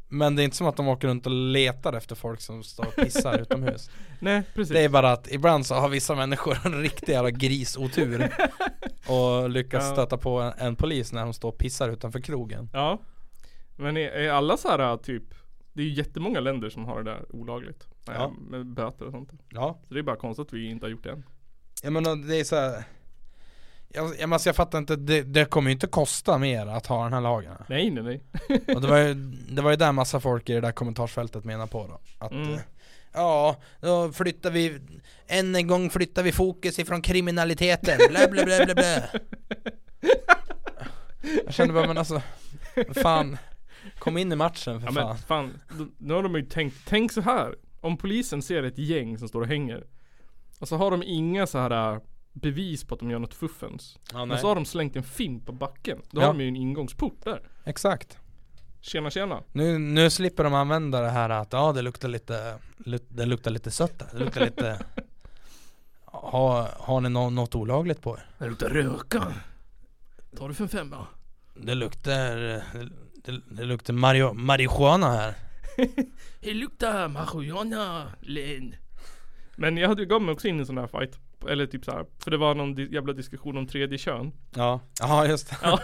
Speaker 4: Men det är inte som att de åker runt och letar efter folk som står och pissar utomhus
Speaker 3: Nej, precis.
Speaker 4: Det är bara att ibland så har vissa människor en riktig jävla grisotur Och lyckas
Speaker 3: Ja.
Speaker 4: stöta på en, en polis när de står och pissar utanför krogen
Speaker 3: Ja. Men är, är alla så här typ Det är ju jättemånga länder som har det där olagligt.
Speaker 4: Ja.
Speaker 3: Eh, Med böter och sånt.
Speaker 4: Ja.
Speaker 3: Så det är bara konstigt att vi inte har gjort det än.
Speaker 4: Jag menar det är så här. Jag, jag, men alltså, jag fattar inte, det, det kommer ju inte kosta mer att ha den här lagen
Speaker 3: Nej nej nej.
Speaker 4: Och det var ju, det var ju där massa folk i det där kommentarsfältet menar på då Att
Speaker 3: Mm.
Speaker 4: eh, Ja, då flyttar vi, än en gång flyttar vi fokus ifrån kriminaliteten, bla bla bla bla bla Jag kände bara men alltså, fan Kom in i matchen för
Speaker 3: Ja,
Speaker 4: fan
Speaker 3: men fan, d- nu har de ju tänkt, tänk så här. Om polisen ser ett gäng som står och hänger. Och så har de inga så här äh, bevis på att de gör något fuffens.
Speaker 4: Ja,
Speaker 3: men
Speaker 4: nej.
Speaker 3: så har de slängt en fimp på backen. Då
Speaker 4: Ja.
Speaker 3: har de ju en ingångsport där.
Speaker 4: Exakt
Speaker 3: Tjena tjena.
Speaker 4: nu, nu slipper de använda det här att ja det luktar lite, lu- det luktar lite sött där, det luktar lite ha, Har ni nå- något olagligt på er?
Speaker 3: Det luktar röka. Tar du för en femma?
Speaker 4: Det luktar, det, det luktar mario, marijuana här
Speaker 3: Det luktar marijuana, Len. Men jag hade gav mig också in i en sån här fight. Eller typ så här, för det var någon di- jävla diskussion om tredje kön.
Speaker 4: Ja, ja just det.
Speaker 3: Ja.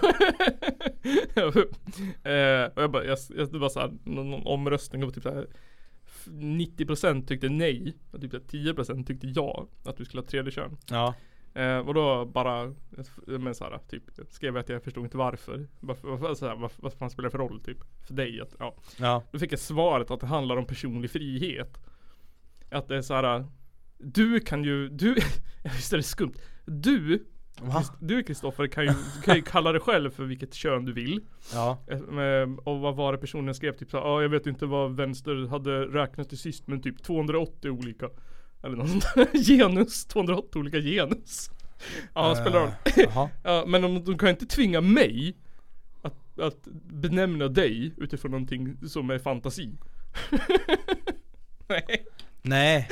Speaker 3: eh, och jag bara, jag, jag, det var så här, någon, någon omröstning och typ så här f- 90% tyckte nej och typ så här 10% tyckte ja att vi skulle ha tredje kön.
Speaker 4: Ja.
Speaker 3: Eh, och då bara, men så här, typ, skrev jag att jag förstod inte varför. Varför, varför, så här, varför, varför man spelar det för roll typ? För dig att, ja.
Speaker 4: Ja.
Speaker 3: Då fick jag svaret att det handlar om personlig frihet. Att det är så här. Du kan ju, du, visst är det skumt. Du, Krist- du Kristoffer kan ju, kan ju kalla dig själv för vilket kön du vill.
Speaker 4: Ja.
Speaker 3: Eh, Och vad var det personen skrev? Typ så här, ja jag vet inte vad vänster hade räknat till sist men typ 280 olika. Eller något sånt där. genus, 280 olika genus. Ja,
Speaker 4: Eh,
Speaker 3: spelar roll.
Speaker 4: jaha.
Speaker 3: ja, men de, de kan ju inte tvinga mig att, att benämna dig utifrån någonting som är fantasi.
Speaker 4: Nej. Nej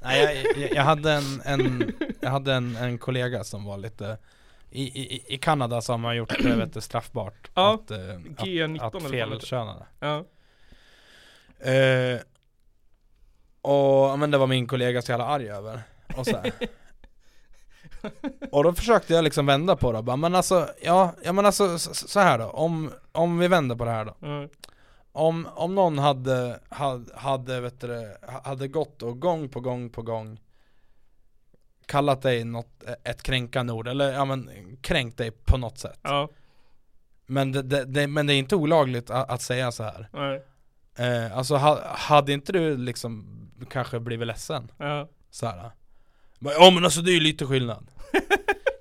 Speaker 4: jag, jag, jag hade, en, en, jag hade en, en kollega som var lite i, i, I Kanada så har man gjort det vet du, straffbart
Speaker 3: Ja,
Speaker 4: att, eh,
Speaker 3: G19 eller vad
Speaker 4: att, att
Speaker 3: det heter.
Speaker 4: felkönade
Speaker 3: Ja.
Speaker 4: Eh, och ja, men det var min kollega så jävla arg över. Och, så här. och då försökte jag liksom vända på det bara, men alltså, ja, ja men alltså så, så här då, om, om vi vänder på det här då.
Speaker 3: Mm.
Speaker 4: Om, om någon hade, hade, hade, vet du, det, ha- hade gått och gång på gång på gång kallat dig något, e, ett kränkande ord, eller ja men kränkt dig på något sätt. Men, det, det, det, men det är inte olagligt att, att säga så här.
Speaker 3: Nej.
Speaker 4: Eh, alltså ha, hade inte du liksom kanske blivit ledsen?
Speaker 3: Ja.
Speaker 4: Så här. Bara, Ja men alltså det är ju lite skillnad.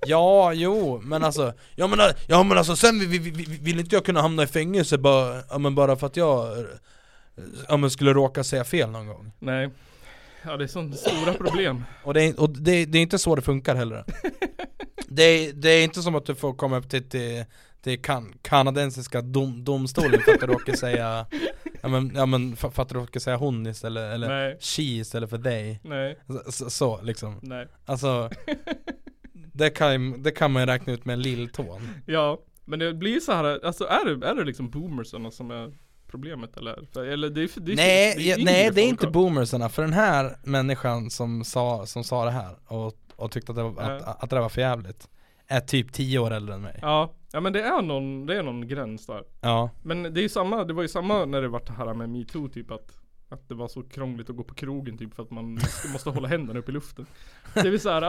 Speaker 4: ja, jo, men alltså, ja men, ja, men alltså sen vi- vi- vi- vi- vill inte jag kunna hamna i fängelse bara, ja, men bara för att jag eh, ja, men skulle råka säga fel någon gång.
Speaker 3: Nej. Ja det är sånt stora problem.
Speaker 4: Och, det är, och det, det är inte så det funkar heller. det, är, det är inte som att du får komma upp till, till, till kan, kanadensiska dom, domstolen för att du råkar säga Ja men, ja, men för, för att du råkar säga hon istället, eller
Speaker 3: Nej.
Speaker 4: she istället för dig
Speaker 3: Nej.
Speaker 4: Så, så, så liksom
Speaker 3: Nej.
Speaker 4: Alltså det kan, det kan man ju räkna ut med en lilltån
Speaker 3: Ja, men det blir så här, alltså är det, är det liksom boomersarna som är problemet eller? För, eller det är, för- det är,
Speaker 4: Nej,
Speaker 3: det är
Speaker 4: ja,
Speaker 3: yngre
Speaker 4: nej det är
Speaker 3: folk
Speaker 4: inte
Speaker 3: av-
Speaker 4: boomersarna, för den här människan som sa, som sa det här och, och tyckte att det, var,
Speaker 3: Ja.
Speaker 4: att, att det där var för jävligt Är typ 10 år äldre än mig
Speaker 3: Ja, ja men det är någon, det är någon gräns där.
Speaker 4: Ja.
Speaker 3: Men det är ju samma, det var ju samma när det var det här med metoo typ att att det var så krångligt att gå på krogen typ för att man måste- måste hålla händerna upp i luften. Det vill säga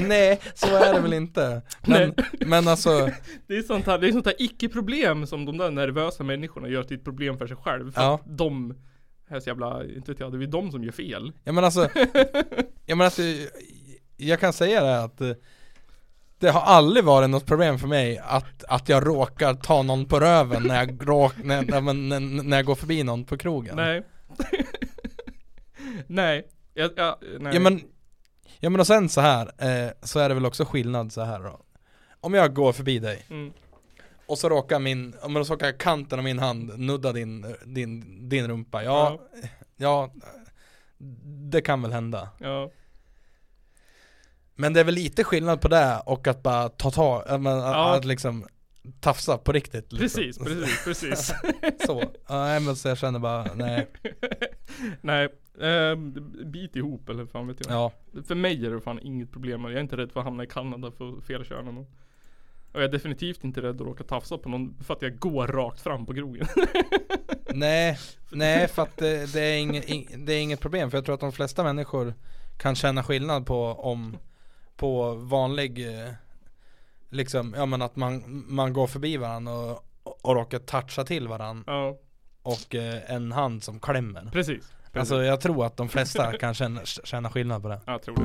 Speaker 4: Nej, så är det väl inte. Men, men alltså,
Speaker 3: Det är sånt här, det är sånt här icke-problem som de där nervösa människorna gör till ett problem för sig själv. För
Speaker 4: Ja.
Speaker 3: att de, här så jävla, inte vet jag, det är de som gör fel.
Speaker 4: ja men alltså, ja men alltså, jag kan säga det här att eh, det har aldrig varit något problem för mig att, att jag råkar ta någon på röven när jag, råk, när, när, men- när, när jag går förbi någon på krogen.
Speaker 3: Nej. nej. Jag, jag, nej.
Speaker 4: Ja men, ja men och sen så här eh, så är det väl också skillnad så här då. Om jag går förbi dig
Speaker 3: Mm.
Speaker 4: och så råkar min, ja, men så råkar kanten av min hand nudda din, din, din rumpa. Ja, ja, det kan väl hända.
Speaker 3: Ja.
Speaker 4: Men det är väl lite skillnad på det och att bara ta tag, ja, men, att-
Speaker 3: Ja.
Speaker 4: att liksom tafsa på riktigt. Liksom.
Speaker 3: Precis, precis, precis.
Speaker 4: så, ja, nej, men så jag känner bara, nej.
Speaker 3: Nej, ehm, bit ihop eller fan vet jag.
Speaker 4: Ja.
Speaker 3: För mig är det fan inget problem. Jag är inte rädd för att hamna i Kanada för fel kön. Och och jag är definitivt inte rädd att råka tafsa på någon för att jag går rakt fram på krogen.
Speaker 4: Nej, nej för att det, det, är inget, ing- det är inget problem för jag tror att de flesta människor kan känna skillnad på om på vanlig eh, liksom, ja men att man, man går förbi varandra och, och råkar toucha till varandra och eh, en hand som klämmer.
Speaker 3: Precis, precis.
Speaker 4: Alltså jag tror att de flesta kan känna, känna skillnad på det.
Speaker 3: Ja, jag tror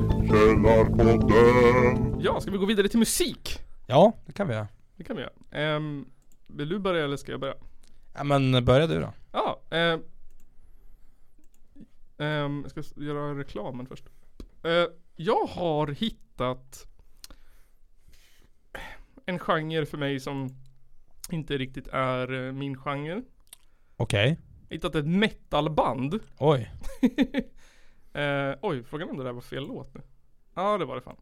Speaker 3: det. Ja, ska vi gå vidare till musik?
Speaker 4: Ja, det kan vi göra.
Speaker 3: Det kan vi göra. Um, vill du börja eller ska jag börja?
Speaker 4: Ja, men börja du då.
Speaker 3: Ja, ehm. Ehm, jag ska s- göra reklamen först. Eh, jag har hittat en genre för mig som inte riktigt är eh, min genre.
Speaker 4: Okej.
Speaker 3: Jag har hittat ett metalband.
Speaker 4: Oj.
Speaker 3: Eh, oj, frågan är om det där var fel låt nu. Ja, det var det fan.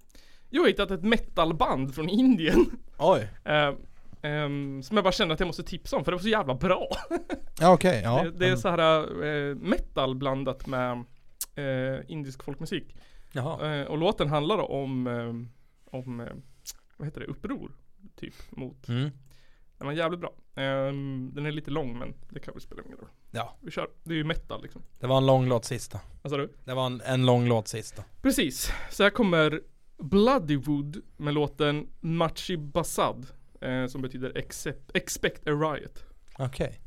Speaker 3: Jag har hittat ett metalband från Indien.
Speaker 4: Oj.
Speaker 3: Eh, ehm, som jag bara kände att jag måste tipsa om för det var så jävla bra.
Speaker 4: Ja okej, ja.
Speaker 3: Det, det är så här eh, metal blandat med eh, indisk folkmusik.
Speaker 4: Jaha.
Speaker 3: Eh, och låten handlar om, eh, om eh, vad heter det, uppror. Typ mot.
Speaker 4: Mm.
Speaker 3: Den var jävligt bra. Ehm, den är lite lång men det kan väl spela ingen roll.
Speaker 4: Ja.
Speaker 3: Vi kör. Det är ju metal liksom.
Speaker 4: Det var en lång låt sista.
Speaker 3: Vad sa du?
Speaker 4: Det var en, en lång låt sista.
Speaker 3: Precis. Så här kommer Bloodywood med låten Machi Basad. Eh, som betyder accept, Expect a Riot.
Speaker 4: Okej.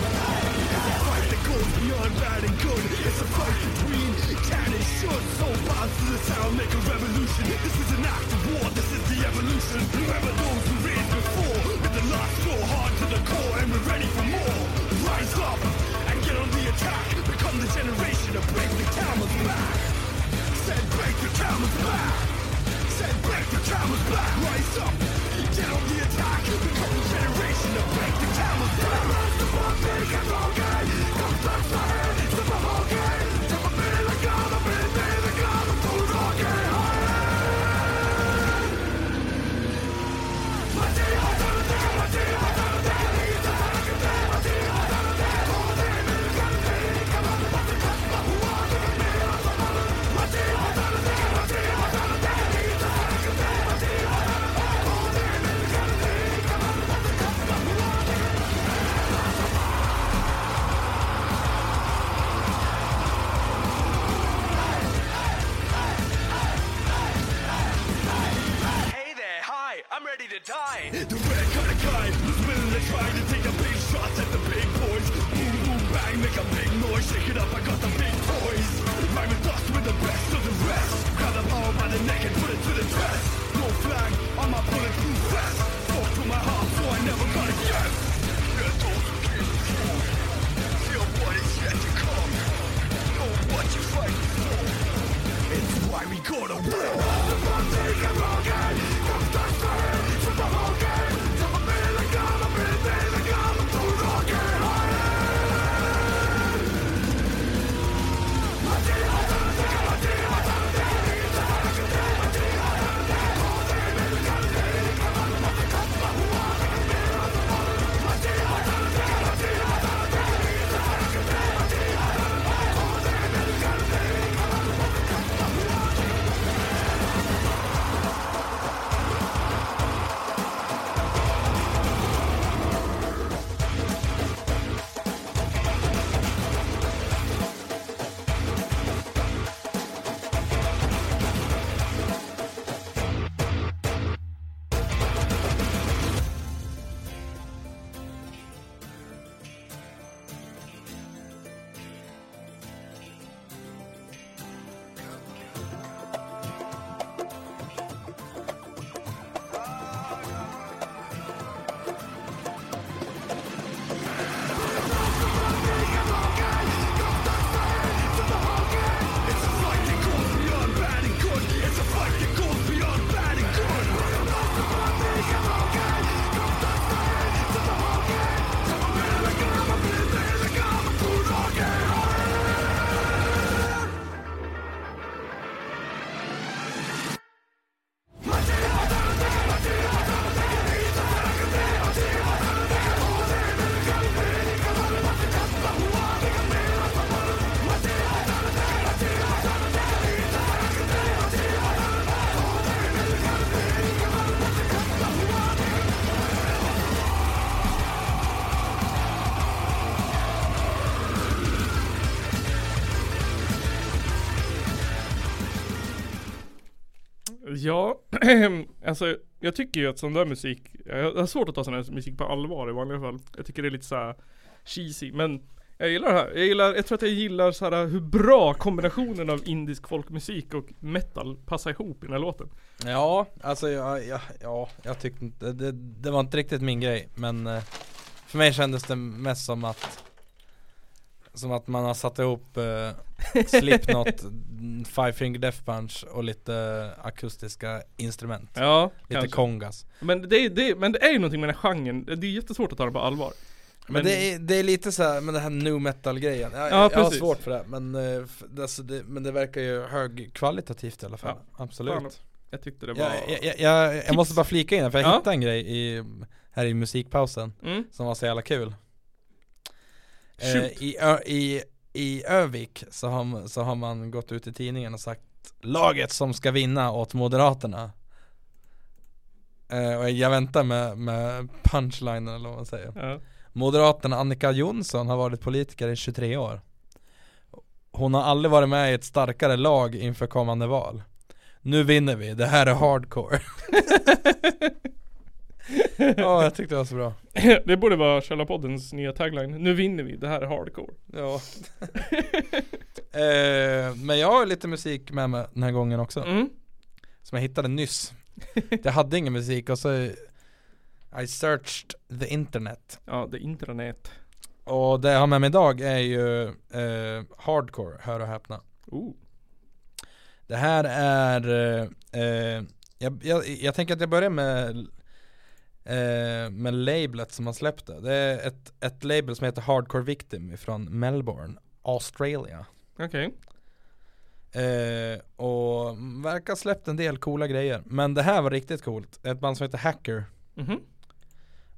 Speaker 18: fight that goes beyond bad and good. It's a fight between can and should. So rise to the town, make a revolution. This is an act of war, this is the evolution. Remember those who ran before, with the last go hard to the core, and we're ready for more. Rise up and get on the attack. Become the generation to break the camel's back. Said break the camel's back. Said break the camel's back. Rise up. Get on the attack, become the generation to break the camel's back. Hey there, hi, I'm ready to die. The red kind of guy who's willing to try to take a big shots at the big boys. Boom, boom, bang, make a big noise, shake it up, I got the big toys. Rhyme with us, we're the best of the rest. Grab the power by the neck and put it to the test. No flag, on my bulletproof vest. Talk to my heart, so I never got a yes. Yeah, those who came before you, feel what is yet to come. Know what you fight for. It's why we go to war. The Monday, come on, guys.
Speaker 3: Ja, alltså jag tycker ju att sån där musik Jag har svårt att ta sån här musik på allvar i vanliga fall Jag tycker det är lite så här cheesy men Jag gillar det här, jag gillar, jag tror att jag gillar så här hur bra kombinationen av indisk folkmusik och metal passar ihop i den här låten
Speaker 4: Ja, alltså jag, jag, ja, jag tyckte inte, det, det var inte riktigt min grej men eh, För mig kändes det mest som att Som att man har satt ihop eh, Slipknot, mm, Five Finger Death Punch och lite akustiska instrument
Speaker 3: Ja,
Speaker 4: Lite
Speaker 3: kanske.
Speaker 4: kongas
Speaker 3: Men det, är- det, men det är ju någonting med den här genren, det är jättesvårt att ta den på allvar
Speaker 4: Men, det, är, det är lite så här med den här nu metal grejen Jag,
Speaker 3: Ja,
Speaker 4: jag har
Speaker 3: precis.
Speaker 4: svårt för det men, eh, f- alltså det men det verkar ju högkvalitativt i alla fall
Speaker 3: Ja.
Speaker 4: Absolut
Speaker 3: Fan, Jag tyckte det var...
Speaker 4: Jag, jag, jag, jag
Speaker 3: Tips.
Speaker 4: måste bara flika in här, för jag
Speaker 3: Ja.
Speaker 4: hittade en grej i, här i musikpausen
Speaker 3: Mm.
Speaker 4: som var så jävla kul. Eh,
Speaker 3: Shoot.
Speaker 4: i, Ö- i, I Övik så har, man- så har man gått ut i tidningen och sagt Laget som ska vinna åt Moderaterna. Eh, och jag väntar med, med punchlinen eller vad man säger.
Speaker 3: Ja.
Speaker 4: Moderaterna Annika Jonsson har varit politiker i 23 år. Hon har aldrig varit med i ett starkare lag inför kommande val. Nu vinner vi, det här är hardcore. Ja, jag tyckte det var så bra.
Speaker 3: det borde vara Källarpoddens nya tagline. Nu vinner vi, det här är hardcore.
Speaker 4: Ja. Eh, men jag har lite musik med mig den här gången också. Som jag hittade nyss. jag hade ingen musik och så I searched the internet.
Speaker 3: Ja, det är intranät.
Speaker 4: Och det jag har med mig idag är ju eh, hardcore, hör och häpna.
Speaker 3: Oh.
Speaker 4: Det här är, eh, eh, jag, jag, jag tänker att jag börjar med, eh, med lablet som har släppt det. Det är ett, ett label som heter Hardcore Victim från Melbourne, Australia.
Speaker 3: Okej.
Speaker 4: Eh, och verkar ha släppt en del coola grejer. Men det här var riktigt coolt. Ett band som heter Hacker.
Speaker 3: Mhm.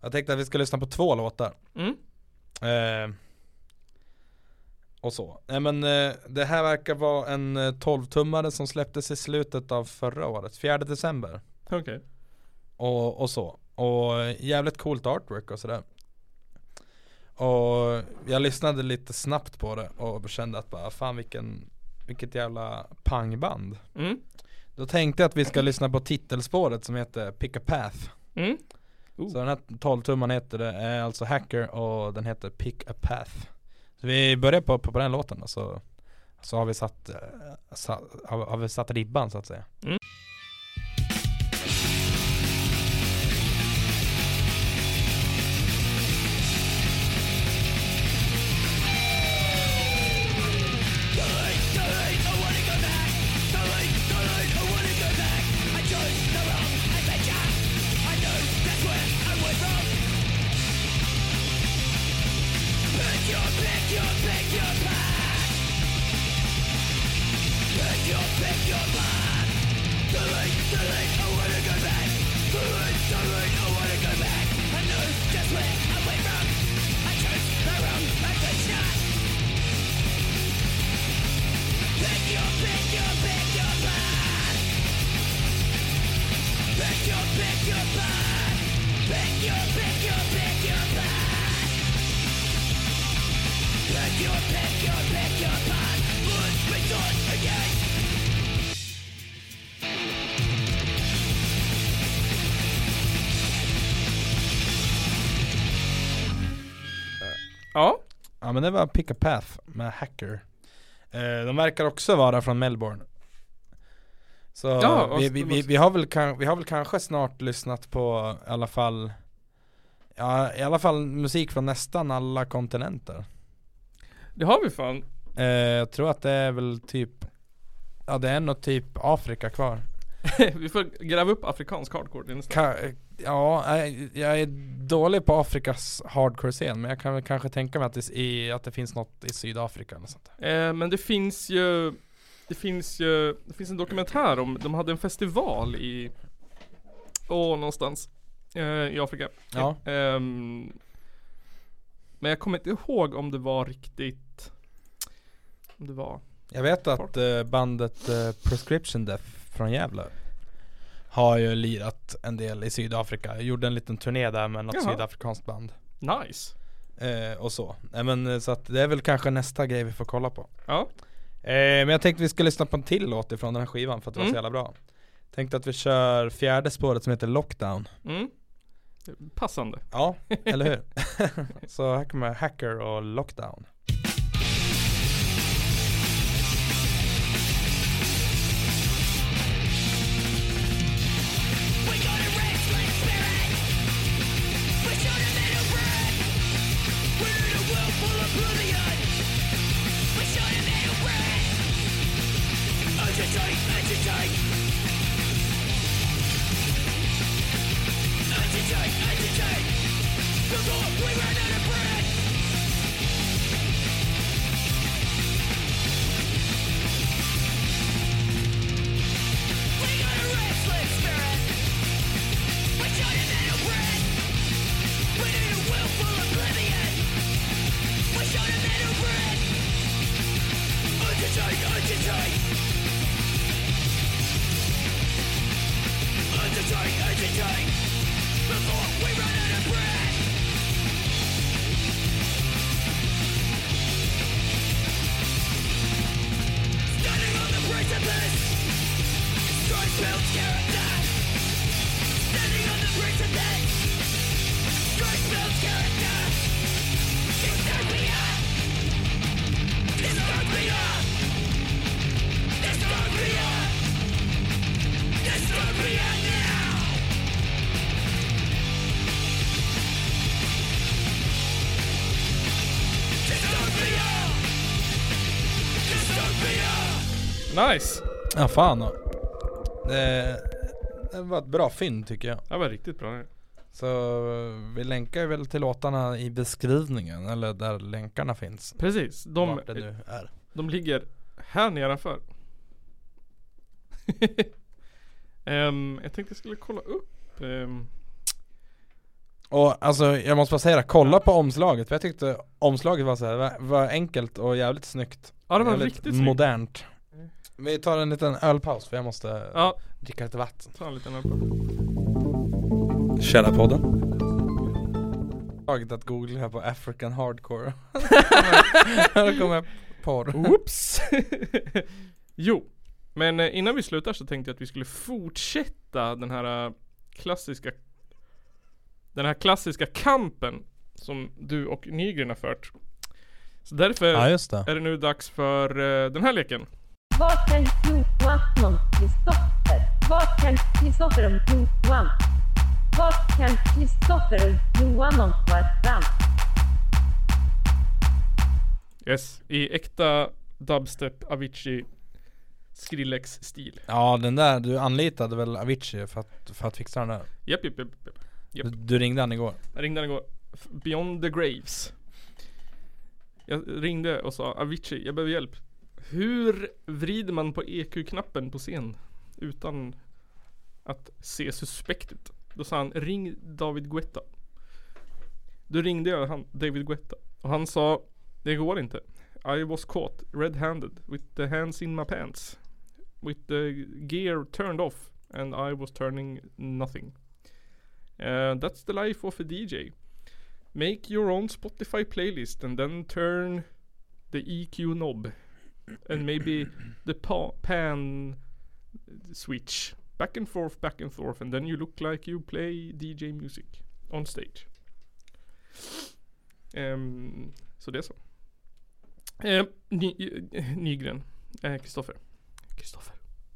Speaker 4: Jag tänkte att vi ska lyssna på två låtar.
Speaker 3: Mm.
Speaker 4: Eh, och så. Nej men eh, det här verkar vara en eh, 12-tummare som släpptes i slutet av förra året, 4 december.
Speaker 3: Okej.
Speaker 4: Och, och så. Och eh, jävligt coolt artwork och sådär. Och jag lyssnade lite snabbt på det och kände att bara fan vilken, vilket jävla pangband.
Speaker 3: Mm.
Speaker 4: Då tänkte jag att vi ska lyssna på titelspåret som heter Pick a Path.
Speaker 3: Mm.
Speaker 4: Så den här 12-tumman heter det, är alltså Hacker och den heter Pick a Path. Så vi börjar på, på, på den låten och så, så har, vi satt, eh, sa, har, har vi satt ribban så att säga.
Speaker 3: Ja.
Speaker 4: Ja men det var Pick a Path med Hacker. Eh, de verkar också vara från Melbourne. Så
Speaker 3: Ja, och-
Speaker 4: vi, vi, vi, vi, har väl, kan- vi har väl kanske snart lyssnat på i alla fall Ja i alla fall musik från nästan alla kontinenter.
Speaker 3: Det har vi fan.
Speaker 4: Eh, jag tror att det är väl typ Ja det är nog typ Afrika kvar.
Speaker 3: vi får gräva upp afrikansk hardcore till nästa.
Speaker 4: Ka- ja, nej, jag är dålig på Afrikas hardcore-scen men jag kan väl kanske tänka mig att det, i, att det finns något i Sydafrika eller sånt.
Speaker 3: Eh, men det finns ju Det finns ju Det finns en dokumentär om De hade en festival i Åh någonstans eh, I Afrika
Speaker 4: Ja.
Speaker 3: Ehm, Men jag kommer inte ihåg om det var riktigt Om det var
Speaker 4: Jag vet att eh, bandet eh, Prescription Death från Gävle har ju lirat en del i Sydafrika. Jag gjorde en liten turné där med något
Speaker 3: Jaha.
Speaker 4: sydafrikanskt band.
Speaker 3: Nice
Speaker 4: Eh, och så. Nej men eh, så att det är väl kanske nästa grej vi får kolla på.
Speaker 3: Ja
Speaker 4: Eh, men jag tänkte vi ska lyssna på en till låt ifrån den här skivan för att det var
Speaker 3: Mm.
Speaker 4: så jävla bra. Tänkte att vi kör fjärde spåret som heter Lockdown.
Speaker 3: mm. Passande
Speaker 4: Ja, eller hur? så här kommer Hacker och Lockdown.
Speaker 18: We're gonna
Speaker 3: Nice!
Speaker 4: Ja fan då. det, Eh, det var ett bra fynd tycker jag
Speaker 3: Det var riktigt bra
Speaker 4: Så vi länkar ju väl till låtarna i beskrivningen eller där länkarna finns
Speaker 3: Precis, de,
Speaker 4: Vart det nu är.
Speaker 3: de ligger här nedanför Ehm, Jag tänkte jag skulle kolla upp ehm,
Speaker 4: Och alltså jag måste bara säga det, kolla på omslaget för jag tyckte omslaget var så här, var, var enkelt och jävligt snyggt
Speaker 3: Ja, det var
Speaker 4: Jävligt
Speaker 3: riktigt snyggt.
Speaker 4: modernt Vi tar en liten ölpaus för jag måste
Speaker 3: Ja.
Speaker 4: dricka lite vatten
Speaker 3: Ta en liten öl.
Speaker 4: Källarpodden Taget att googla på African hardcore Här kommer porr
Speaker 3: Whoops! jo, men eh, innan vi slutar så tänkte jag att vi skulle fortsätta den här eh, klassiska Den här klassiska kampen som du och Nygren har fört. Så därför
Speaker 4: Ja, just det.
Speaker 3: är det nu dags för eh, den här leken.
Speaker 19: Vad kan Johan Kristoffer? Vad kan Kristoffer om Johan? Vad kan Kristoffer och Johan om varann?
Speaker 3: Yes, i äkta dubstep Avicii Skrillex-stil.
Speaker 4: Ja den där, du anlitade väl Avicii för att, för att fixa den där?
Speaker 3: Japp, japp, japp, japp. japp.
Speaker 4: Du, du ringde han igår?
Speaker 3: Jag ringde han igår. F- Beyond the Graves. Jag ringde och sa Avicii, jag behöver hjälp. Hur vrider man på EQ-knappen på scen utan att se suspekt ut? Då sa han ring David Guetta. Då ringde jag han, David Guetta och han sa det går inte. I was caught red-handed with the hands in my pants. With the gear turned off and I was turning nothing. Uh, that's the life of a DJ. Make your own Spotify playlist and then turn the EQ knob and maybe the pa- pan switch back and forth, back and forth, and then you look like you play DJ music on stage. Ehm, så det är så. Ehm, Ny- eh, Nygren. Eh, Kristoffer. Kristoffer.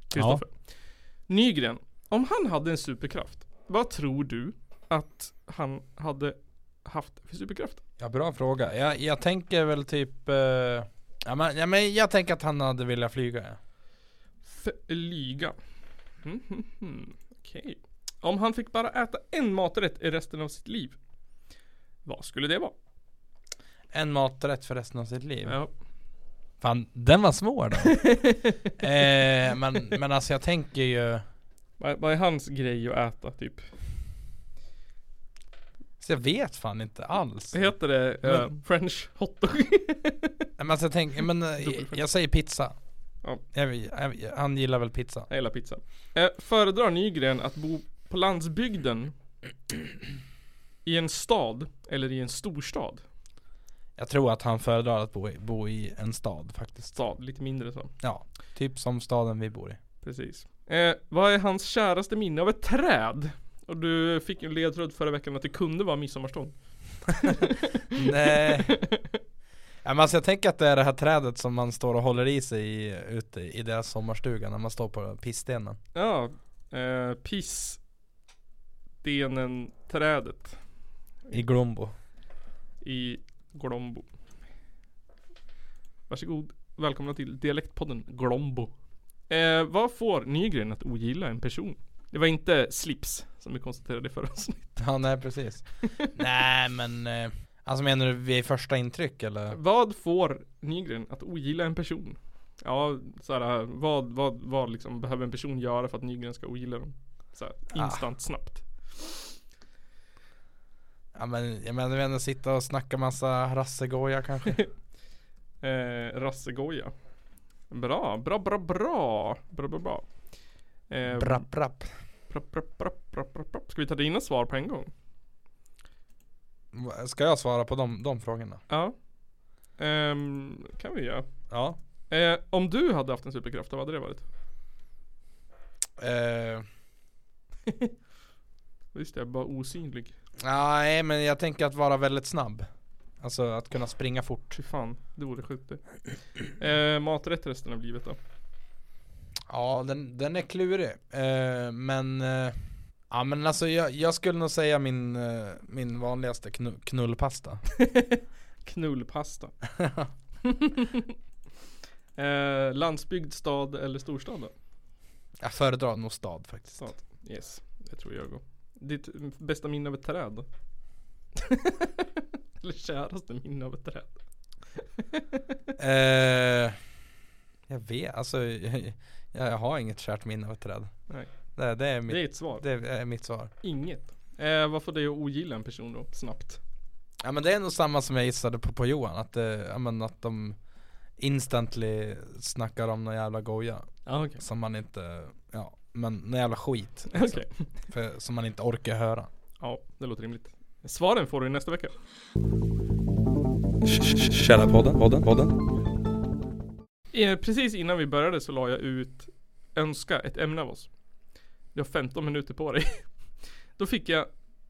Speaker 3: Kristoffer. Nygren. Om han hade en superkraft, vad tror du att han hade haft för superkraft?
Speaker 4: Ja bra fråga, jag, jag tänker väl typ eh, ja, men, ja men jag tänker att han hade velat flyga
Speaker 3: Flyga. Mm, mm, mm. Okej. Om han fick bara äta en maträtt i resten av sitt liv. Vad skulle det vara?
Speaker 4: En maträtt för resten av sitt liv
Speaker 3: Ja.
Speaker 4: Fan, den var svår då eh, men, men alltså jag tänker ju alltså
Speaker 3: Vad vad är hans grej att äta typ?
Speaker 4: Så jag vet fan inte alls
Speaker 3: Heter det eh,
Speaker 4: Men-
Speaker 3: French hotdog?
Speaker 4: Nej, men alltså jag tänker, men eh, jag säger pizza
Speaker 3: Ja.
Speaker 4: jag, jag, Han gillar väl pizza
Speaker 3: Jag gillar pizza. Eh, föredrar Nygren att bo på landsbygden i en stad eller i en storstad?
Speaker 4: Jag tror att han föredrar att bo i, bo i en stad faktiskt
Speaker 3: Stad, lite mindre så.
Speaker 4: Ja, typ som staden vi bor i
Speaker 3: Precis. Eh, vad är hans käraste minne av ett träd? Och du fick ju en ledtråd förra veckan att det kunde vara midsommarstång.
Speaker 4: Nej. Ja, men alltså jag tänker att det är det här trädet som man står och håller i sig i, ute i deras sommarstuga när man står på pissstenen.
Speaker 3: Ja, eh, piss Stenen Trädet
Speaker 4: I Glombo.
Speaker 3: i Glombo. Varsågod, välkomna till Dialektpodden Glombo. Eh, vad får Nygren att ogilla en person? Det var inte slips som vi konstaterade i förra avsnittet.
Speaker 4: Ja nej precis. nej men, eh, alltså menar du vid första intryck eller?
Speaker 3: Vad får Nygren att ogilla en person? Ja, såhär, vad, vad, vad liksom behöver en person göra för att Nygren ska ogilla dem? Såhär,
Speaker 4: Ah.
Speaker 3: instant, snabbt.
Speaker 4: Ja men jag menar, jag menar sitta och snacka massa rassegoja kanske.
Speaker 3: Eh, Rassegoja. Bra, bra, bra, bra. Bra, bra, bra. Eh,
Speaker 4: Brapp, brapp.
Speaker 3: brapp, brapp, brapp, brapp, brapp, brapp. Ska vi ta dina svar på en gång?
Speaker 4: Va- Ska jag svara på de, de frågorna?
Speaker 3: Ja. Ehm, kan vi göra.
Speaker 4: Ja.
Speaker 3: Eh, om du hade haft en superkraft, vad hade det varit?
Speaker 4: Eh,
Speaker 3: Visst, jag är bara osynlig.
Speaker 4: nej men jag tänker att vara väldigt snabb. Alltså att kunna springa fort.
Speaker 3: Fy fan, det vore sjukt det. Eh, maträtt resten av livet då?
Speaker 4: Ja, den, den är klurig. Eh, men, eh, ja, men alltså jag, jag skulle nog säga min, eh, min vanligaste knu, knullpasta.
Speaker 3: Knullpasta. eh, landsbygd, stad eller storstad då?
Speaker 4: Jag föredrar nog stad faktiskt.
Speaker 3: Stad. Yes, det tror jag går. Ditt bästa minne av ett träd? eller käraste minne av ett träd?
Speaker 4: Eh, jag vet, alltså jag, jag har inget kärt minne av ett träd.
Speaker 3: Nej.
Speaker 4: Det, det är mitt
Speaker 3: Det är ett svar.
Speaker 4: Det är mitt svar.
Speaker 3: Inget. Eh, vad får dig att ogilla en person då, snabbt?
Speaker 4: Ja men det är nog samma som jag gissade på, på Johan, att, eh, ja, men att de instantly snackar om någon jävla goja.
Speaker 3: Ja, okej.
Speaker 4: Som man inte, ja men någon jävla skit. liksom.
Speaker 3: Okej.
Speaker 4: För, som man inte orkar höra.
Speaker 3: Ja, det låter rimligt. Svaren får du nästa vecka.
Speaker 4: Källarpodden, podden, podden.
Speaker 3: Eh, Precis innan vi började så la jag ut Önska ett ämne av oss. Du har 15 minuter på dig. Då fick jag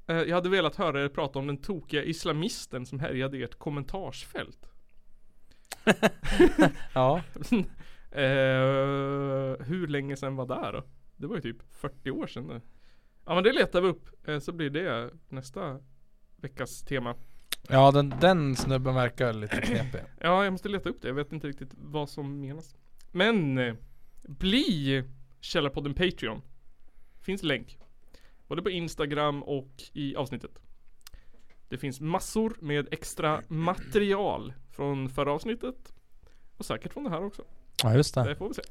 Speaker 3: eh, Jag hade velat höra er prata om den tokiga islamisten som härjade i ert kommentarsfält.
Speaker 4: Ja.
Speaker 3: eh, hur länge sedan var det då? Det var ju typ 40 år sedan. nu. Ja men det letar vi upp. Eh, så blir det nästa veckas tema.
Speaker 4: Ja den, den snubben verkar lite knepig.
Speaker 3: Ja, jag måste leta upp det. Jag vet inte riktigt vad som menas. Men eh, bli Källarpodden Patreon. Finns länk. Både på Instagram och i avsnittet. Det finns massor med extra material från förra avsnittet. Och säkert från det här också.
Speaker 4: Ja just
Speaker 3: Det får vi se.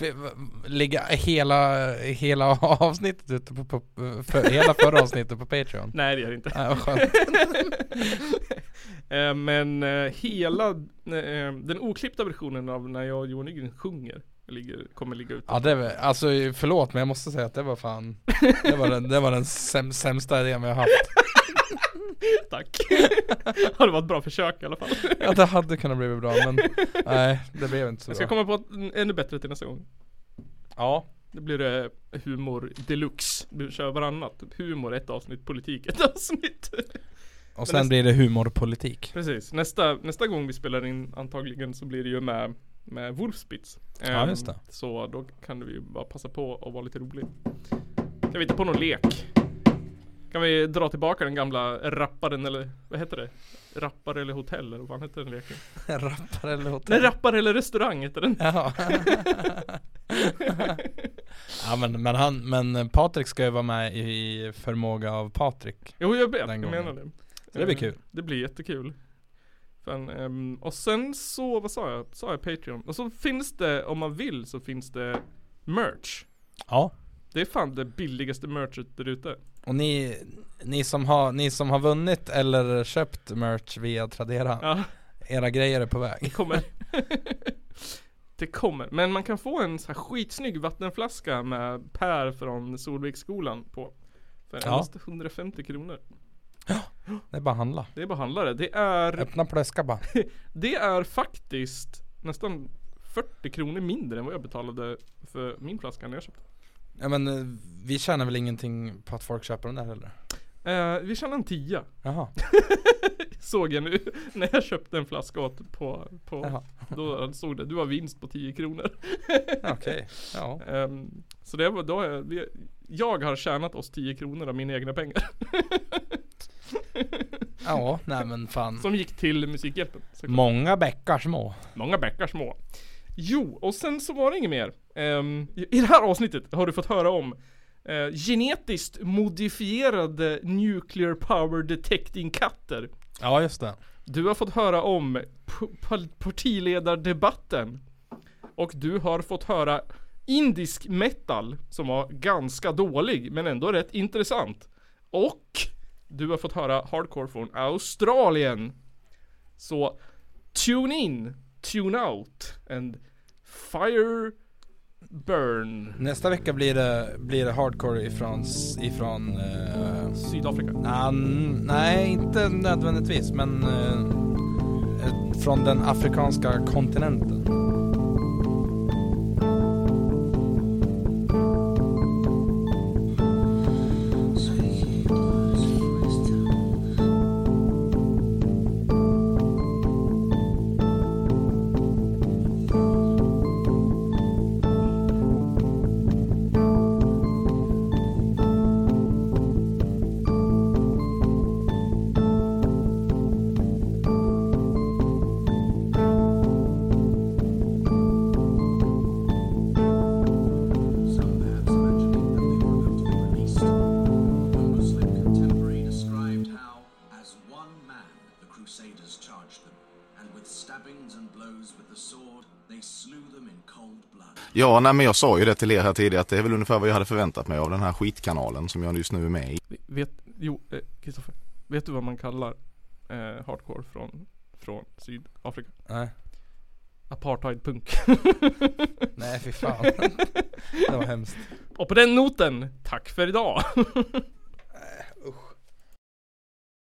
Speaker 4: F- v- Ligga hela, hela avsnittet ute på, på för, hela förra avsnittet på Patreon.
Speaker 3: Nej det gör det inte.
Speaker 4: Ja, vad skönt.
Speaker 3: Eh, Men eh, hela eh, den oklippta versionen av när jag och Johan Nygren sjunger ligger, kommer ligga ute.
Speaker 4: Ja det var, alltså förlåt men jag måste säga att det var fan Det var den, det var den säm, sämsta idén vi har haft
Speaker 3: Tack. ja, det var ett bra försök i alla fall.
Speaker 4: Ja det hade kunnat bli bra men nej det blev inte så
Speaker 3: Jag ska
Speaker 4: bra
Speaker 3: komma på ett- ännu bättre till nästa gång.
Speaker 4: Ja
Speaker 3: Det blir det humor deluxe. Vi kör varannat. Humor ett avsnitt, politik ett avsnitt. Men
Speaker 4: Och sen
Speaker 3: nästa-
Speaker 4: blir det humorpolitik
Speaker 3: Precis. Nästa, nästa gång vi spelar in antagligen så blir det ju med, med Wolfspitz.
Speaker 4: Ja,
Speaker 3: Ehm,
Speaker 4: just det.
Speaker 3: Så då kan vi ju bara passa på och vara lite rolig. Kan vi hitta på någon lek? Kan vi dra tillbaka den gamla rapparen eller vad heter det? Rappare eller hotell eller vad fan heter den leken?
Speaker 4: Rappare eller
Speaker 3: Nej,
Speaker 4: hotell?
Speaker 3: rappare eller restaurang heter den.
Speaker 4: Ja. Ja men, men han, men Patrik ska ju vara med i Förmåga av Patrik
Speaker 3: Jo jag vet,
Speaker 4: Den
Speaker 3: jag
Speaker 4: gången.
Speaker 3: menar det.
Speaker 4: Så det blir
Speaker 3: Eh,
Speaker 4: kul.
Speaker 3: Det blir jättekul. Fan, ehm, och sen så, vad sa jag? Sa jag Patreon? Och så finns det, om man vill så finns det merch.
Speaker 4: Ja
Speaker 3: Det är fan det billigaste merchet där ute.
Speaker 4: Och ni, ni, som har, ni som har vunnit eller köpt merch via Tradera
Speaker 3: Ja.
Speaker 4: Era grejer är på väg
Speaker 3: Kommer. det kommer. Men man kan få en så här skitsnygg vattenflaska med Per från Solviksskolan på. För
Speaker 4: Ja.
Speaker 3: endast 150 kronor.
Speaker 4: Det är bara att handla
Speaker 3: Det är bara handlare. Det är,
Speaker 4: Öppna plöska bara
Speaker 3: det är faktiskt nästan 40 kronor mindre än vad jag betalade för min flaska när jag köpte.
Speaker 4: Ja men eh, vi tjänar väl ingenting på att folk köper den där heller?
Speaker 3: Eh, vi tjänade en tia.
Speaker 4: Jaha,
Speaker 3: Såg jag nu när jag köpte en flaska åt på, på
Speaker 4: Jaha.
Speaker 3: då såg det, du har vinst på 10 kronor.
Speaker 4: Ja, okej. Ja.
Speaker 3: Ehm, så det var, då har jag, vi- jag har tjänat oss 10 kronor av mina egna pengar.
Speaker 4: ja nej men fan
Speaker 3: Som gick till Musikhjälpen. såklart.
Speaker 4: Många bäckar små
Speaker 3: Många bäckar små. Jo, och sen så var det inget mer. Ehm, i- I det här avsnittet har du fått höra om eh, genetiskt modifierade nuclear power detecting katter.
Speaker 4: Ja just det
Speaker 3: Du har fått höra om p- p- partiledardebatten. Och du har fått höra indisk metal som var ganska dålig men ändå rätt intressant. Och du har fått höra hardcore från Australien. Så tune in, tune out and Fire Burn.
Speaker 4: Nästa vecka blir det, blir det hardcore ifrån... s- ifrån eh,
Speaker 3: Sydafrika?
Speaker 4: nej, inte nödvändigtvis men eh, eh, från den afrikanska kontinenten.
Speaker 10: contemporary described how, as one man, the Crusaders charged them, and with stabbings and blows with the sword, they slew them in cold blood.
Speaker 14: Ja, nej, men jag sa ju det till er här tidigare att det är väl ungefär vad jag hade förväntat mig av den här skitkanalen som jag just nu är med i.
Speaker 3: Vet, jo, eh, Kristoffer. Vet du vad man kallar eh, hardcore från, från Sydafrika?
Speaker 4: Nej.
Speaker 3: Apartheidpunk.
Speaker 4: Nej, fy fan. Det var hemskt.
Speaker 3: Och på den noten, tack för idag.